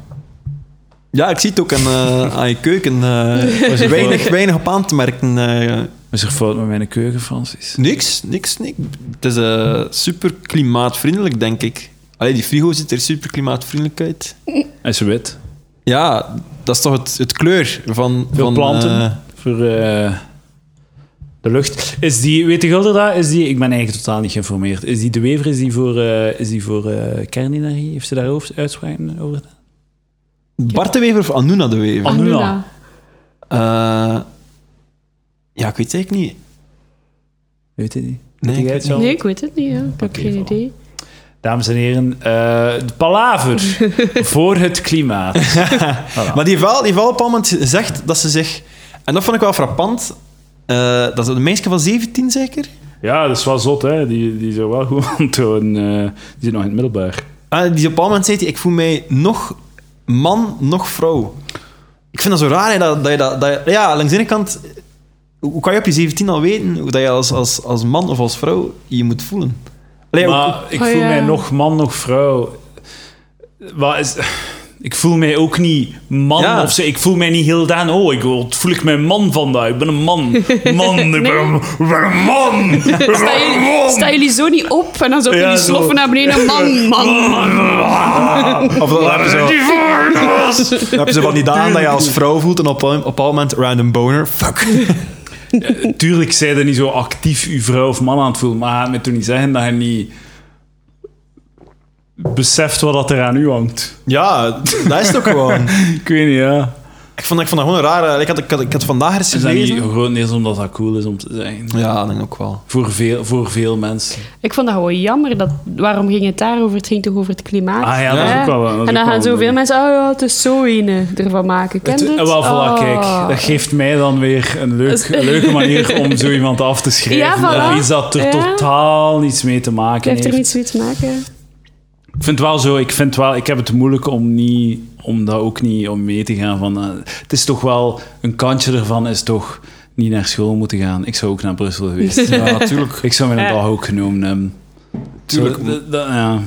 Speaker 2: Ja, ik zie het ook aan, eh, aan je keuken. eh, er is weinig, weinig op aan te merken. eh.
Speaker 1: Is er fout met mijn keuken, Francis?
Speaker 2: niks, niks, niks. Het is eh, super klimaatvriendelijk, denk ik. Allee, die frigo ziet er super klimaatvriendelijk uit.
Speaker 1: Hij is wit.
Speaker 2: Ja, dat is toch het, het kleur van...
Speaker 1: Veel
Speaker 2: van,
Speaker 1: planten
Speaker 2: eh,
Speaker 1: voor eh, de lucht. Is die, weet de gulder daar, is die, ik ben eigenlijk totaal niet geïnformeerd. Is die de Wever, is die voor, eh, is die voor eh, kernenergie? Heeft ze daar hoofd- uitspraken over gedaan?
Speaker 2: Bart de Wever of Anuna de Wever?
Speaker 1: An-
Speaker 3: Anuna.
Speaker 1: Anuna.
Speaker 2: Eh, ja, ik weet het eigenlijk niet.
Speaker 1: Weet je niet?
Speaker 2: Nee,
Speaker 1: Weet jij het,
Speaker 2: ik weet
Speaker 1: Jean?
Speaker 3: Nee, ik weet het niet. ja. Ik heb
Speaker 1: Oké,
Speaker 3: geen
Speaker 1: voilà.
Speaker 3: idee.
Speaker 1: Dames en heren, eh, de palaver voor het klimaat.
Speaker 2: Maar die val, die val op een moment zegt dat ze zich... En dat vond ik wel frappant. eh, dat is een meisje van 17, zeker?
Speaker 1: Ja, dat is wel zot, hè? Die, die zijn wel goed aan het doen. eh, die zit nog in het middelbaar.
Speaker 2: Ah, die op een moment zei hij, ik voel mij nog man, nog vrouw. Ik vind dat zo raar, hè, dat, dat je dat... dat je- ja, langs de ene kant... Hoe kan je op je 17 al weten hoe dat je als, als, als man of als vrouw je moet voelen? Allee, ook-
Speaker 1: Maar ik
Speaker 3: Oh,
Speaker 1: voel
Speaker 3: ja.
Speaker 1: mij nog man, nog vrouw. Wat is... Ik voel mij ook niet man
Speaker 2: Ja.
Speaker 1: of zo. Ik voel mij niet heel daan. Oh, ik word- voel ik mijn man vandaag. Ik ben een man. Man, ik ben een, ik ben een man. Ik ben
Speaker 3: Staan
Speaker 1: een
Speaker 3: jullie,
Speaker 1: Oh, man.
Speaker 3: staan jullie zo niet op en dan zo op
Speaker 1: Ja,
Speaker 3: jullie
Speaker 1: zo.
Speaker 3: sloffen naar beneden. Man, man, man.
Speaker 2: of dat hebben ze,
Speaker 1: Die voorklas.
Speaker 2: dan hebben ze van die dagen dat je als vrouw voelt en op, een- op een moment random boner. Fuck.
Speaker 1: Tuurlijk zei je niet zo actief je vrouw of man aan het voelen, maar met toen niet zeggen dat je niet beseft wat dat er aan u hangt.
Speaker 2: Ja, dat is het ook gewoon.
Speaker 1: Ik weet niet, ja.
Speaker 2: Ik vond, ik vond dat gewoon raar. eh, Ik had, ik had, ik had vandaag eens
Speaker 1: Is dat niet
Speaker 2: gelezen.
Speaker 1: gewoon eens omdat dat cool is om te zijn?
Speaker 2: Ja, denk ik ook wel.
Speaker 1: Voor veel, voor veel mensen.
Speaker 3: Ik vond dat gewoon jammer. Dat, waarom ging het daarover? Het ging toch over het klimaat?
Speaker 1: Ah ja, dat is
Speaker 3: Hè?
Speaker 1: ook wel... dat is
Speaker 3: en
Speaker 1: ook
Speaker 3: dan
Speaker 1: wel
Speaker 3: gaan
Speaker 1: een
Speaker 3: zoveel
Speaker 1: ding.
Speaker 3: mensen, oh ja, het is zo ene ervan maken. Ken
Speaker 1: Het-
Speaker 3: je het?
Speaker 1: Wel, voilà,
Speaker 3: Oh. Dus-
Speaker 1: kijk. Dat geeft mij dan weer een, leuk, een leuke manier om zo iemand af te schrijven.
Speaker 3: Ja, voilà.
Speaker 1: Eh, Iets dat er
Speaker 3: Ja.
Speaker 1: totaal niets mee te maken
Speaker 3: Het heeft er
Speaker 1: heeft.
Speaker 3: niet zoiets te maken.
Speaker 1: Ik vind wel zo, ik vind wel, ik heb het moeilijk om niet, om dat ook niet om mee te gaan van, eh, het is toch wel, een kantje ervan is toch niet naar school moeten gaan. Ik zou ook naar Brussel geweest zijn.
Speaker 2: Ja, natuurlijk.
Speaker 1: Ik zou mijn
Speaker 3: Ja.
Speaker 1: dag ook genomen hebben.
Speaker 2: Tuurlijk.
Speaker 1: Zo, d- d- ja,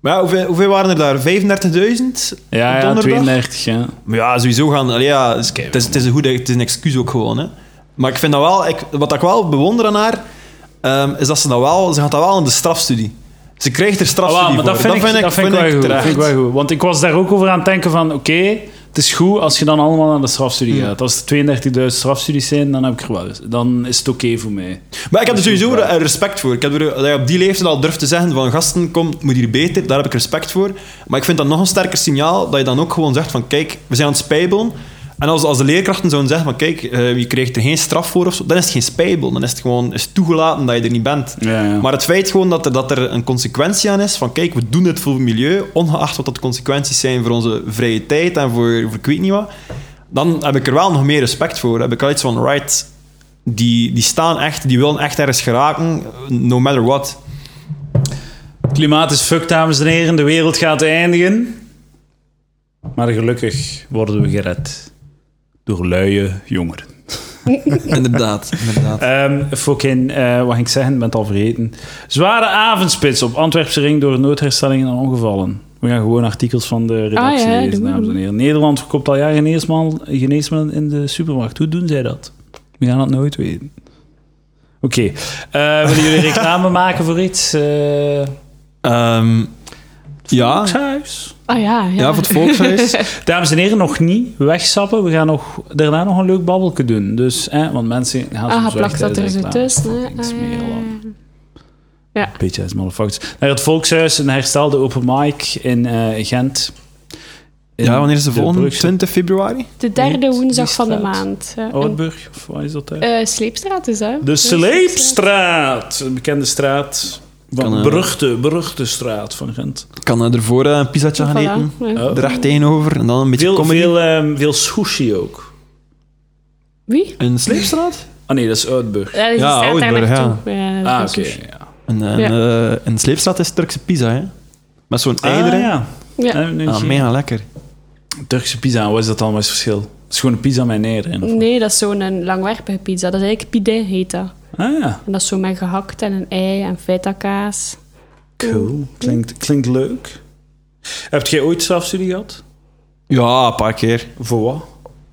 Speaker 2: Maar ja, hoeveel, hoeveel waren er daar? 35.000?
Speaker 1: ja, ja
Speaker 2: Donderdag?
Speaker 1: 32, ja. Ah,
Speaker 2: Maar ja, sowieso gaan. allee, ja, het, is, het, is, het is een goede, het is een excuus ook gewoon. Hè. Maar ik vind dat wel, ik, wat ik wel bewonder aan haar, ehm, is dat ze dat wel, ze gaat dat wel in de strafstudie. Ze krijgt er
Speaker 1: Ah,
Speaker 2: strafstudie
Speaker 1: wel, maar dat
Speaker 2: voor.
Speaker 1: vind, ik, dat vind ik wel goed.
Speaker 2: terecht.
Speaker 1: vind ik wel goed. Want ik was daar ook over aan het denken van, oké, het is goed als je dan allemaal naar de strafstudie gaat. Als er 32.000 strafstudies zijn, dan heb ik er wel eens- Dan is het oké voor mij.
Speaker 2: Maar ik heb er
Speaker 1: Dat is
Speaker 2: sowieso
Speaker 1: goed, ja.
Speaker 2: eh, respect voor. Ik heb er, dat je op die leeftijd al durft te zeggen van gasten, kom, het moet hier beter. Daar heb ik respect voor. Maar ik vind dat nog een sterker signaal dat je dan ook gewoon zegt van kijk, we zijn aan het spijbelen. En als, als de leerkrachten zouden zeggen van kijk, eh, je krijgt er geen straf voor of zo, dan is het geen spijbel. Dan is het gewoon is toegelaten dat je er niet bent.
Speaker 1: Ja, ja.
Speaker 2: Maar het feit gewoon dat er, dat er een consequentie aan is van kijk, we doen dit voor het milieu, ongeacht wat dat de consequenties zijn voor onze vrije tijd en voor, voor ik weet niet wat, dan heb ik er wel nog meer respect voor. Heb ik al iets van, right, die, die staan echt, die willen echt ergens geraken, no matter what.
Speaker 1: Klimaat is fuck, dames en heren. De wereld gaat eindigen. Maar gelukkig worden we gered. Door luie jongeren.
Speaker 2: Inderdaad, inderdaad.
Speaker 1: Ehm fucking, eh, wat ging ik zeggen? Ik ben het al vergeten. Zware avondspits op Antwerpse ring door noodherstellingen en ongevallen. We gaan gewoon artikels van de redactie
Speaker 3: Ah, ja,
Speaker 1: lezen,
Speaker 3: doe.
Speaker 1: dames en heren. Nederland verkoopt al jaren geneesman- geneesmiddelen in de supermarkt. Hoe doen zij dat? We gaan dat nooit weten. Oké. Eh, willen jullie reclame maken voor iets? Eh
Speaker 2: Ehm, ja,
Speaker 1: Volkshuis?
Speaker 3: Ah ja, ja.
Speaker 2: Ja, voor het volkshuis.
Speaker 1: Dames en heren, nog niet wegsappen. We gaan nog, daarna nog een leuk babbelke doen. Dus, hè, want mensen gaan
Speaker 3: ah,
Speaker 1: soms weg
Speaker 3: geplakt dat er
Speaker 1: tijdens
Speaker 3: zo
Speaker 1: reclame.
Speaker 3: tussen. hè.
Speaker 1: Niks
Speaker 3: Ah,
Speaker 1: meer,
Speaker 3: ja,
Speaker 1: al.
Speaker 3: ja, ja. Ja.
Speaker 1: Beetje als motherfuckers. Naar het Volkshuis, een herstelde open mic in eh, Gent. In
Speaker 2: ja, wanneer is de volgende?
Speaker 1: Brugse
Speaker 2: 20 februari?
Speaker 3: De derde
Speaker 1: Niet
Speaker 3: woensdag
Speaker 1: die
Speaker 3: van de
Speaker 1: straat.
Speaker 3: maand. Ja. En,
Speaker 1: Oudburg, of wat is dat daar?
Speaker 3: eh, Sleepstraat is dat?
Speaker 1: Oh, de Sleepstraat, een bekende straat. Van
Speaker 2: Kan, eh,
Speaker 1: beruchte, beruchte straat van Gent.
Speaker 2: Ik kan eh, ervoor eh, een pizzatje gaan eten.
Speaker 3: Voilà, ja.
Speaker 1: Oh.
Speaker 2: Er recht tegenover. En dan een beetje
Speaker 1: Veel,
Speaker 2: comedy.
Speaker 1: veel, ehm, veel sushi ook.
Speaker 3: Wie?
Speaker 2: Een sleepstraat?
Speaker 1: Ah nee, dat is Oudburg.
Speaker 3: Ja, dat is
Speaker 2: Ja,
Speaker 1: oh,
Speaker 3: die straat
Speaker 2: Oudburg,
Speaker 3: daar
Speaker 2: ja.
Speaker 3: naartoe. Ja, dat
Speaker 1: ah,
Speaker 3: is
Speaker 1: oké.
Speaker 3: Eh, sushi.
Speaker 1: ja.
Speaker 2: En, en, eh, een sleepstraat is Turkse pizza, hè? Met zo'n
Speaker 1: Ah,
Speaker 2: eieren.
Speaker 1: ja.
Speaker 3: Ja.
Speaker 1: Heb ik nu
Speaker 2: Ah,
Speaker 1: gezien.
Speaker 2: mega lekker.
Speaker 1: Turkse pizza, wat is dat dan? Wat is het verschil? Het is gewoon een pizza met eieren. of-
Speaker 3: Nee, dat is zo'n een langwerpige pizza. Dat is eigenlijk pide heet dat.
Speaker 1: Ah ja,
Speaker 3: En dat is zo met gehakt en een ei en feta kaas.
Speaker 1: cool. Klinkt, klinkt leuk. Heb jij ooit strafstudie gehad?
Speaker 2: Ja, een paar keer.
Speaker 1: Voor wat?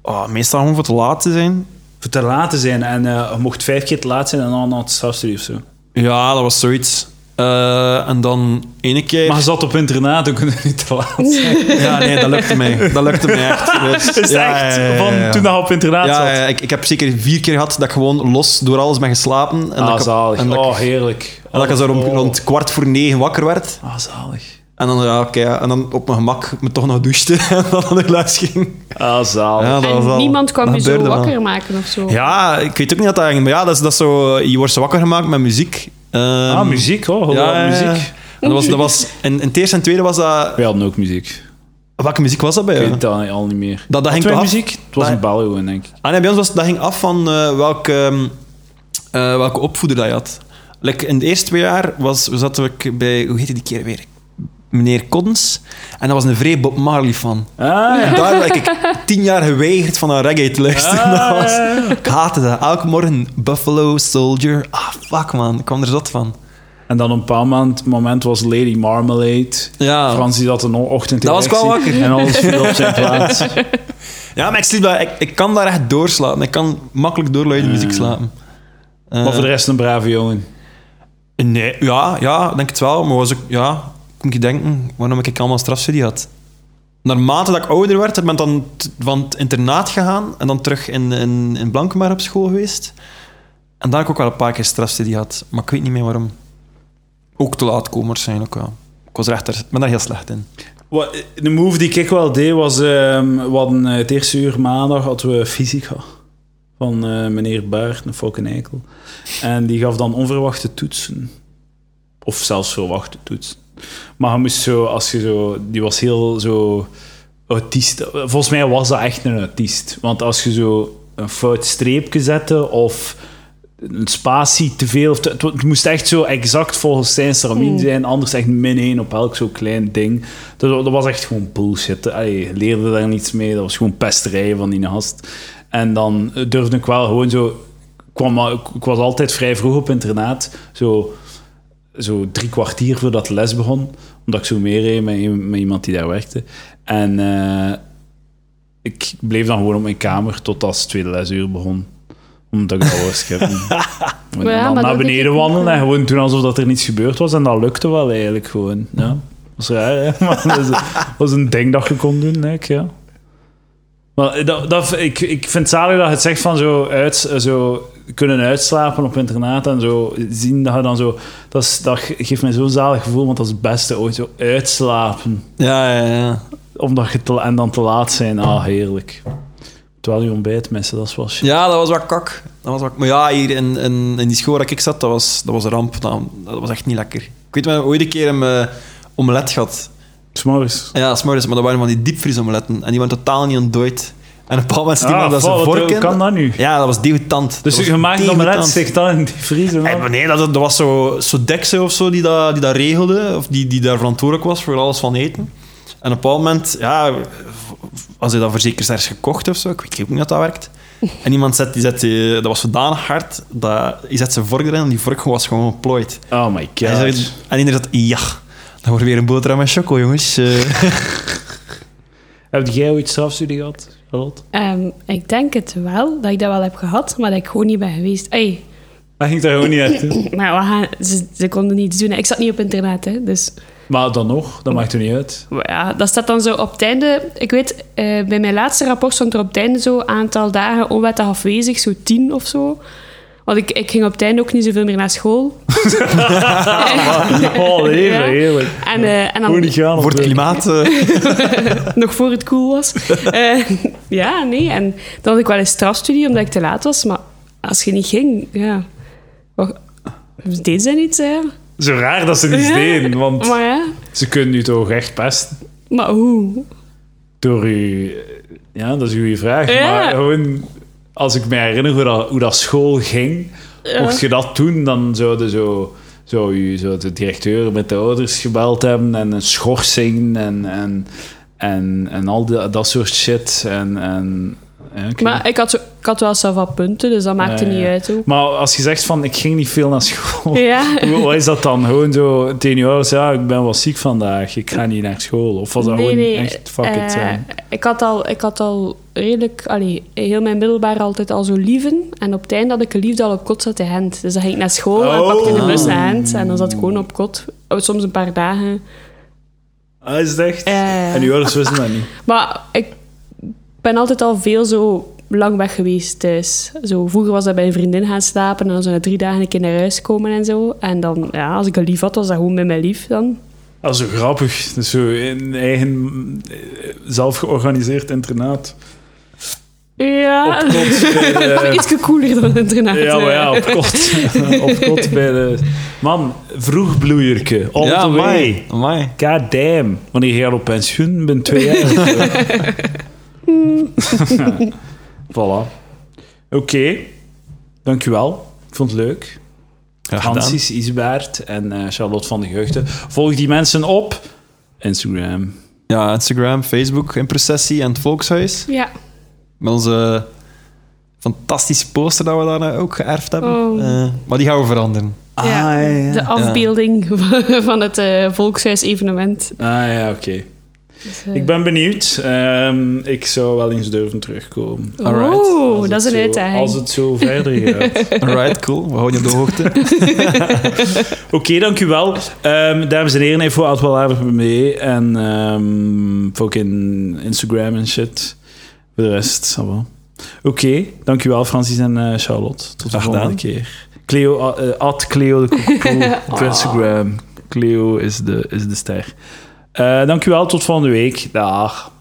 Speaker 2: Ah, meestal gewoon voor te laat te zijn.
Speaker 1: Voor te laat te zijn en eh, je mocht vijf keer te laat zijn en dan had het strafstudie of zo.
Speaker 2: Ja, dat was zoiets. Eh, en dan ene keer...
Speaker 1: Maar je zat op internaat, ook niet te laat zijn.
Speaker 2: Ja, nee, dat lukte mij. Dat lukte mij echt. Dus,
Speaker 1: Is
Speaker 2: ja,
Speaker 1: echt
Speaker 2: ja, ja, ja,
Speaker 1: van
Speaker 2: ja.
Speaker 1: toen dat je op internaat
Speaker 2: Ja,
Speaker 1: zat.
Speaker 2: ja, ik, ik heb zeker vier keer gehad dat ik gewoon los door alles ben geslapen. En
Speaker 1: ah,
Speaker 2: dat ik,
Speaker 1: zalig.
Speaker 2: en dat ik-
Speaker 1: oh, heerlijk.
Speaker 2: en dat ik zo rond,
Speaker 1: Oh.
Speaker 2: rond kwart voor negen wakker werd.
Speaker 1: Ah, zalig.
Speaker 2: En dan, ja, oké, ja. en dan op mijn gemak me toch nog douchte en dan naar de les ging.
Speaker 1: Ah, zalig.
Speaker 2: Ja, dat was
Speaker 3: En
Speaker 2: wel-
Speaker 3: niemand kwam
Speaker 2: dat
Speaker 3: je zo
Speaker 2: gebeurde wel.
Speaker 3: wakker maken of zo.
Speaker 2: Ja, ik weet ook niet wat dat eigenlijk... Maar ja, dat is, dat is zo... Je wordt zo wakker gemaakt met muziek. Ehm,
Speaker 1: ah, muziek, hoor. Oh,
Speaker 2: Ja,
Speaker 1: muziek.
Speaker 2: muziek. Dat was, dat was, in, in het eerste en tweede was dat...
Speaker 1: Wij hadden ook muziek.
Speaker 2: Welke muziek was dat bij
Speaker 1: Ik
Speaker 2: jou?
Speaker 1: weet dat al niet meer.
Speaker 2: Dat, dat
Speaker 1: Hadden
Speaker 2: ging
Speaker 1: wij
Speaker 2: toch af?
Speaker 1: muziek? Het was
Speaker 2: Dat-
Speaker 1: een bal, gewoon, denk ik.
Speaker 2: Ah nee, bij ons was, dat ging af van eh, welke, ehm, eh, welke opvoeder dat je had. Like, in de eerste twee jaar was, zat ik bij, hoe heette die keer weer? Meneer Koddens. En dat was een vrij Bob Marley fan.
Speaker 1: Ah, ja.
Speaker 2: En daar heb ik tien jaar geweigerd van naar reggae te luisteren.
Speaker 1: Ah,
Speaker 2: dat was,
Speaker 1: ja, ja.
Speaker 2: ik haatte dat. Elke morgen Buffalo Soldier. Ah, fuck man. Ik kwam er zot van.
Speaker 1: En dan op een bepaald moment- moment was Lady Marmalade.
Speaker 2: Ja,
Speaker 1: Frans die had een ochtend
Speaker 2: Dat was ik wel wakker.
Speaker 1: En alles viel op zijn plaats.
Speaker 2: ja maar ik, sliep daar, ik, ik kan daar echt doorslapen. Ik kan makkelijk door luide muziek slapen. Eh,
Speaker 1: Maar voor de rest een brave jongen.
Speaker 2: Nee, ja, ja, ik denk het wel. Maar was ook, ja, moet je denken waarom ik allemaal strafstudie had. Naarmate dat ik ouder werd, ik ben dan t- van het internaat gegaan en dan terug in, in, in Blankenberg op school geweest. En daar heb ik ook wel een paar keer strafstudie had, maar ik weet niet meer waarom. Ook te laatkomers zijn ook wel. Ik was er echt er, ik ben daar heel slecht in.
Speaker 1: Wat- De move die ik wel deed was... ehm, we hadden eh, het eerste uur maandag hadden we fysica. Van eh, meneer Baert, een fucking eikel. En die gaf dan onverwachte toetsen. Of zelfs verwachte toetsen. Maar hij moest zo, als je zo... Die was heel zo... Autist. Volgens mij was dat echt een autist. Want als je zo een fout streepje zette of een spatie te veel... of te- het, wa- het moest echt zo exact volgens zijn stramien zijn. Anders echt min 1 op elk zo'n klein ding. Dus dat was echt gewoon bullshit. Allee, je leerde daar niets mee. Dat was gewoon pesterij van die gast. En dan eh, durfde ik wel gewoon zo... Ik, kwam, al- ik- ik was altijd vrij vroeg op internaat. Zo, zo drie kwartier voordat de les begon. Omdat ik zo meereed met, i- met iemand die daar werkte. En eh, ik bleef dan gewoon op mijn kamer tot als het tweede lesuur begon. Omdat ik dat wou scheppen. En
Speaker 3: Ja,
Speaker 1: dan
Speaker 3: maar
Speaker 1: naar
Speaker 3: dat deed ik
Speaker 1: beneden
Speaker 3: ook
Speaker 1: wandelen en
Speaker 3: wel.
Speaker 1: gewoon doen alsof dat er niets gebeurd was. En dat lukte wel eigenlijk gewoon. Ja. Dat was raar, hè? Maar dat is- was een ding dat je kon doen, denk ik, ja. Maar dat, dat, ik, ik vind het zalig dat je het zegt van zo, uit, zo kunnen uitslapen op internaat en zo zien dat je dan zo... Dat, is, dat ge- geeft mij zo'n zalig gevoel, want dat is het beste ooit, zo uitslapen.
Speaker 2: Ja, ja, ja.
Speaker 1: Omdat je te, en dan te laat zijn, ah, heerlijk. Terwijl je ontbijt missen, dat is wel shit.
Speaker 2: Ja, dat was wat kak. Dat was wat... Maar ja, hier in, in, in die school waar ik zat, dat was, dat was een ramp. Dat, dat was echt niet lekker. Ik weet wel, ooit een keer een eh, omelet gehad.
Speaker 1: S'morgens.
Speaker 2: Ja, s'morgens, maar dat waren van die diepvriesomeletten. En die waren totaal niet ontdooid. En een paar mensen die
Speaker 1: Ah,
Speaker 2: hadden dat
Speaker 1: fuck,
Speaker 2: ze vork
Speaker 1: hoe
Speaker 2: in.
Speaker 1: kan dat nu?
Speaker 2: Ja, dat was degotant.
Speaker 1: Dus
Speaker 2: dat
Speaker 1: je
Speaker 2: was
Speaker 1: maakt een omelet,
Speaker 2: degotant.
Speaker 1: stikt dat in die vriezer.
Speaker 2: Eh, maar nee, dat, dat was zo, zo Dexe of zo die dat, die dat regelde, of die, die daar verantwoordelijk was voor alles van eten. En op een bepaald moment, ja, als hij dat verzekerd ergens gekocht of zo, ik weet ook niet hoe dat werkt. En iemand zet, die zet, die- dat was zodanig hard, dat, die zet zijn vork erin en die vork was gewoon geplooid.
Speaker 1: Oh my
Speaker 2: En, hij
Speaker 1: god.
Speaker 2: zegt- en iedereen zat, ja, dan wordt weer een boterham met choco, jongens. Eh,
Speaker 1: Heb jij ooit strafstudie gehad, Charlotte?
Speaker 3: Ehm, ik denk het wel, dat ik dat wel heb gehad, maar dat ik gewoon niet ben geweest. Ey,
Speaker 1: Hij ging daar gewoon niet uit. hè.
Speaker 3: Maar we gaan, ze, ze konden niets doen. hè. Ik zat niet op internet, hè, dus...
Speaker 1: Maar dan nog, dat maakt er niet uit.
Speaker 3: Maar Ja, dat staat dan zo op het einde. Ik weet, eh, bij mijn laatste rapport stond er op het einde zo aantal dagen onwettig afwezig, zo tien of zo. Want ik, ik ging op het einde ook niet zoveel meer naar school.
Speaker 2: Ah,
Speaker 1: Oh, even,
Speaker 3: Ja.
Speaker 1: heerlijk.
Speaker 3: En, eh, en
Speaker 1: Hoe
Speaker 3: dan
Speaker 1: niet gaan.
Speaker 2: Voor het klimaat. eh,
Speaker 3: nog voor het cool was. Eh, ja, nee. En dan had ik wel eens strafstudie omdat ik te laat was. Maar als je niet ging, ja. Wat, deed ze niet, hè?
Speaker 1: Zo raar dat ze niets
Speaker 3: Ja,
Speaker 1: deden, want
Speaker 3: Maar ja,
Speaker 1: ze kunnen u toch echt pesten
Speaker 3: maar hoe?
Speaker 1: door u... Ja, dat is een goede vraag.
Speaker 3: Ja.
Speaker 1: Maar gewoon, als ik me herinner hoe dat, hoe dat school ging, mocht je dat doen, dan zouden zo... Zou u zo de directeur met de ouders gebeld hebben en een schorsing en, en, en, en al die- dat soort shit. En, en, ja, oké.
Speaker 3: Maar ik had, zo- ik had wel zelf wat punten, dus dat maakte
Speaker 1: Ja, ja.
Speaker 3: niet uit. Ook.
Speaker 1: Maar als je zegt van ik ging niet veel naar school,
Speaker 3: Ja.
Speaker 1: hoe- wat is dat dan? Gewoon zo tegen je ouders, ja, ik ben wel ziek vandaag, ik ga niet naar school. Of was dat
Speaker 3: Nee,
Speaker 1: gewoon
Speaker 3: nee,
Speaker 1: echt fuck it
Speaker 3: eh,
Speaker 1: zijn?
Speaker 3: ik, had al, ik had al redelijk, allee, heel mijn middelbaar altijd al zo lieven. En op het eind had ik een liefde al op kot zat in Gent. Dus dan ging ik naar school en
Speaker 1: Oh.
Speaker 3: pakte de bus naar Gent. En dan zat ik gewoon op kot. Oh, Soms een paar dagen.
Speaker 1: Ah, is het echt?
Speaker 3: Eh.
Speaker 1: En je ouders wisten dat niet.
Speaker 3: Maar ik ben altijd al veel zo lang weg geweest thuis. Zo, vroeger was dat bij een vriendin gaan slapen en dan zo na drie dagen een keer naar huis komen en zo. En dan, ja, als ik een lief had, was dat gewoon met mijn lief dan.
Speaker 1: Ah, zo grappig. Dus zo een eigen, eh, zelf georganiseerd internaat.
Speaker 3: Ja,
Speaker 1: Op kot. bij de-
Speaker 3: iets cooler dan het internaat.
Speaker 1: ja, maar ja, op kot. op kot bij de... Man, vroeg bloeierke. All the way.
Speaker 2: amai, amai.
Speaker 1: God damn. Wanneer ga je op pensioen? Ben twee jaar. of zo. voilà. Oké. Dankjewel. Ik vond het leuk.
Speaker 2: Graag gedaan.
Speaker 1: Hansis Isbaert en eh, Charlotte van de Geugten. Volg die mensen op Instagram.
Speaker 2: Ja, Instagram, Facebook, in processie en het Volkshuis.
Speaker 3: Ja.
Speaker 2: Met onze fantastische poster dat we daarna ook geërfd hebben.
Speaker 3: Oh.
Speaker 2: Eh, maar die gaan we veranderen.
Speaker 1: Ah,
Speaker 3: Ja, De afbeelding van het eh, volkshuis-evenement.
Speaker 1: Ah ja, oké.
Speaker 3: Dus, eh,
Speaker 1: Ik ben benieuwd. Ehm, ik zou wel eens durven terugkomen.
Speaker 2: Alright.
Speaker 1: Als het
Speaker 3: Oeh, eh, Oh, dat is een
Speaker 1: zo-
Speaker 3: uitdaging.
Speaker 1: Als het zo verder gaat.
Speaker 2: Alright, cool. We houden je op de hoogte.
Speaker 1: Oké, dank u wel. Ehm, dames en heren, even had wel aardig mee. En ehm fucking Instagram en shit. Voor de rest, ça va. Oké, dank u wel, Francis en eh, Charlotte. Tot de
Speaker 2: Graag
Speaker 1: volgende keer. Cleo, eh, at Cleo de Koekepoel op Instagram. Cleo is de, is de ster. Eh, dank u wel, tot volgende week. Dag.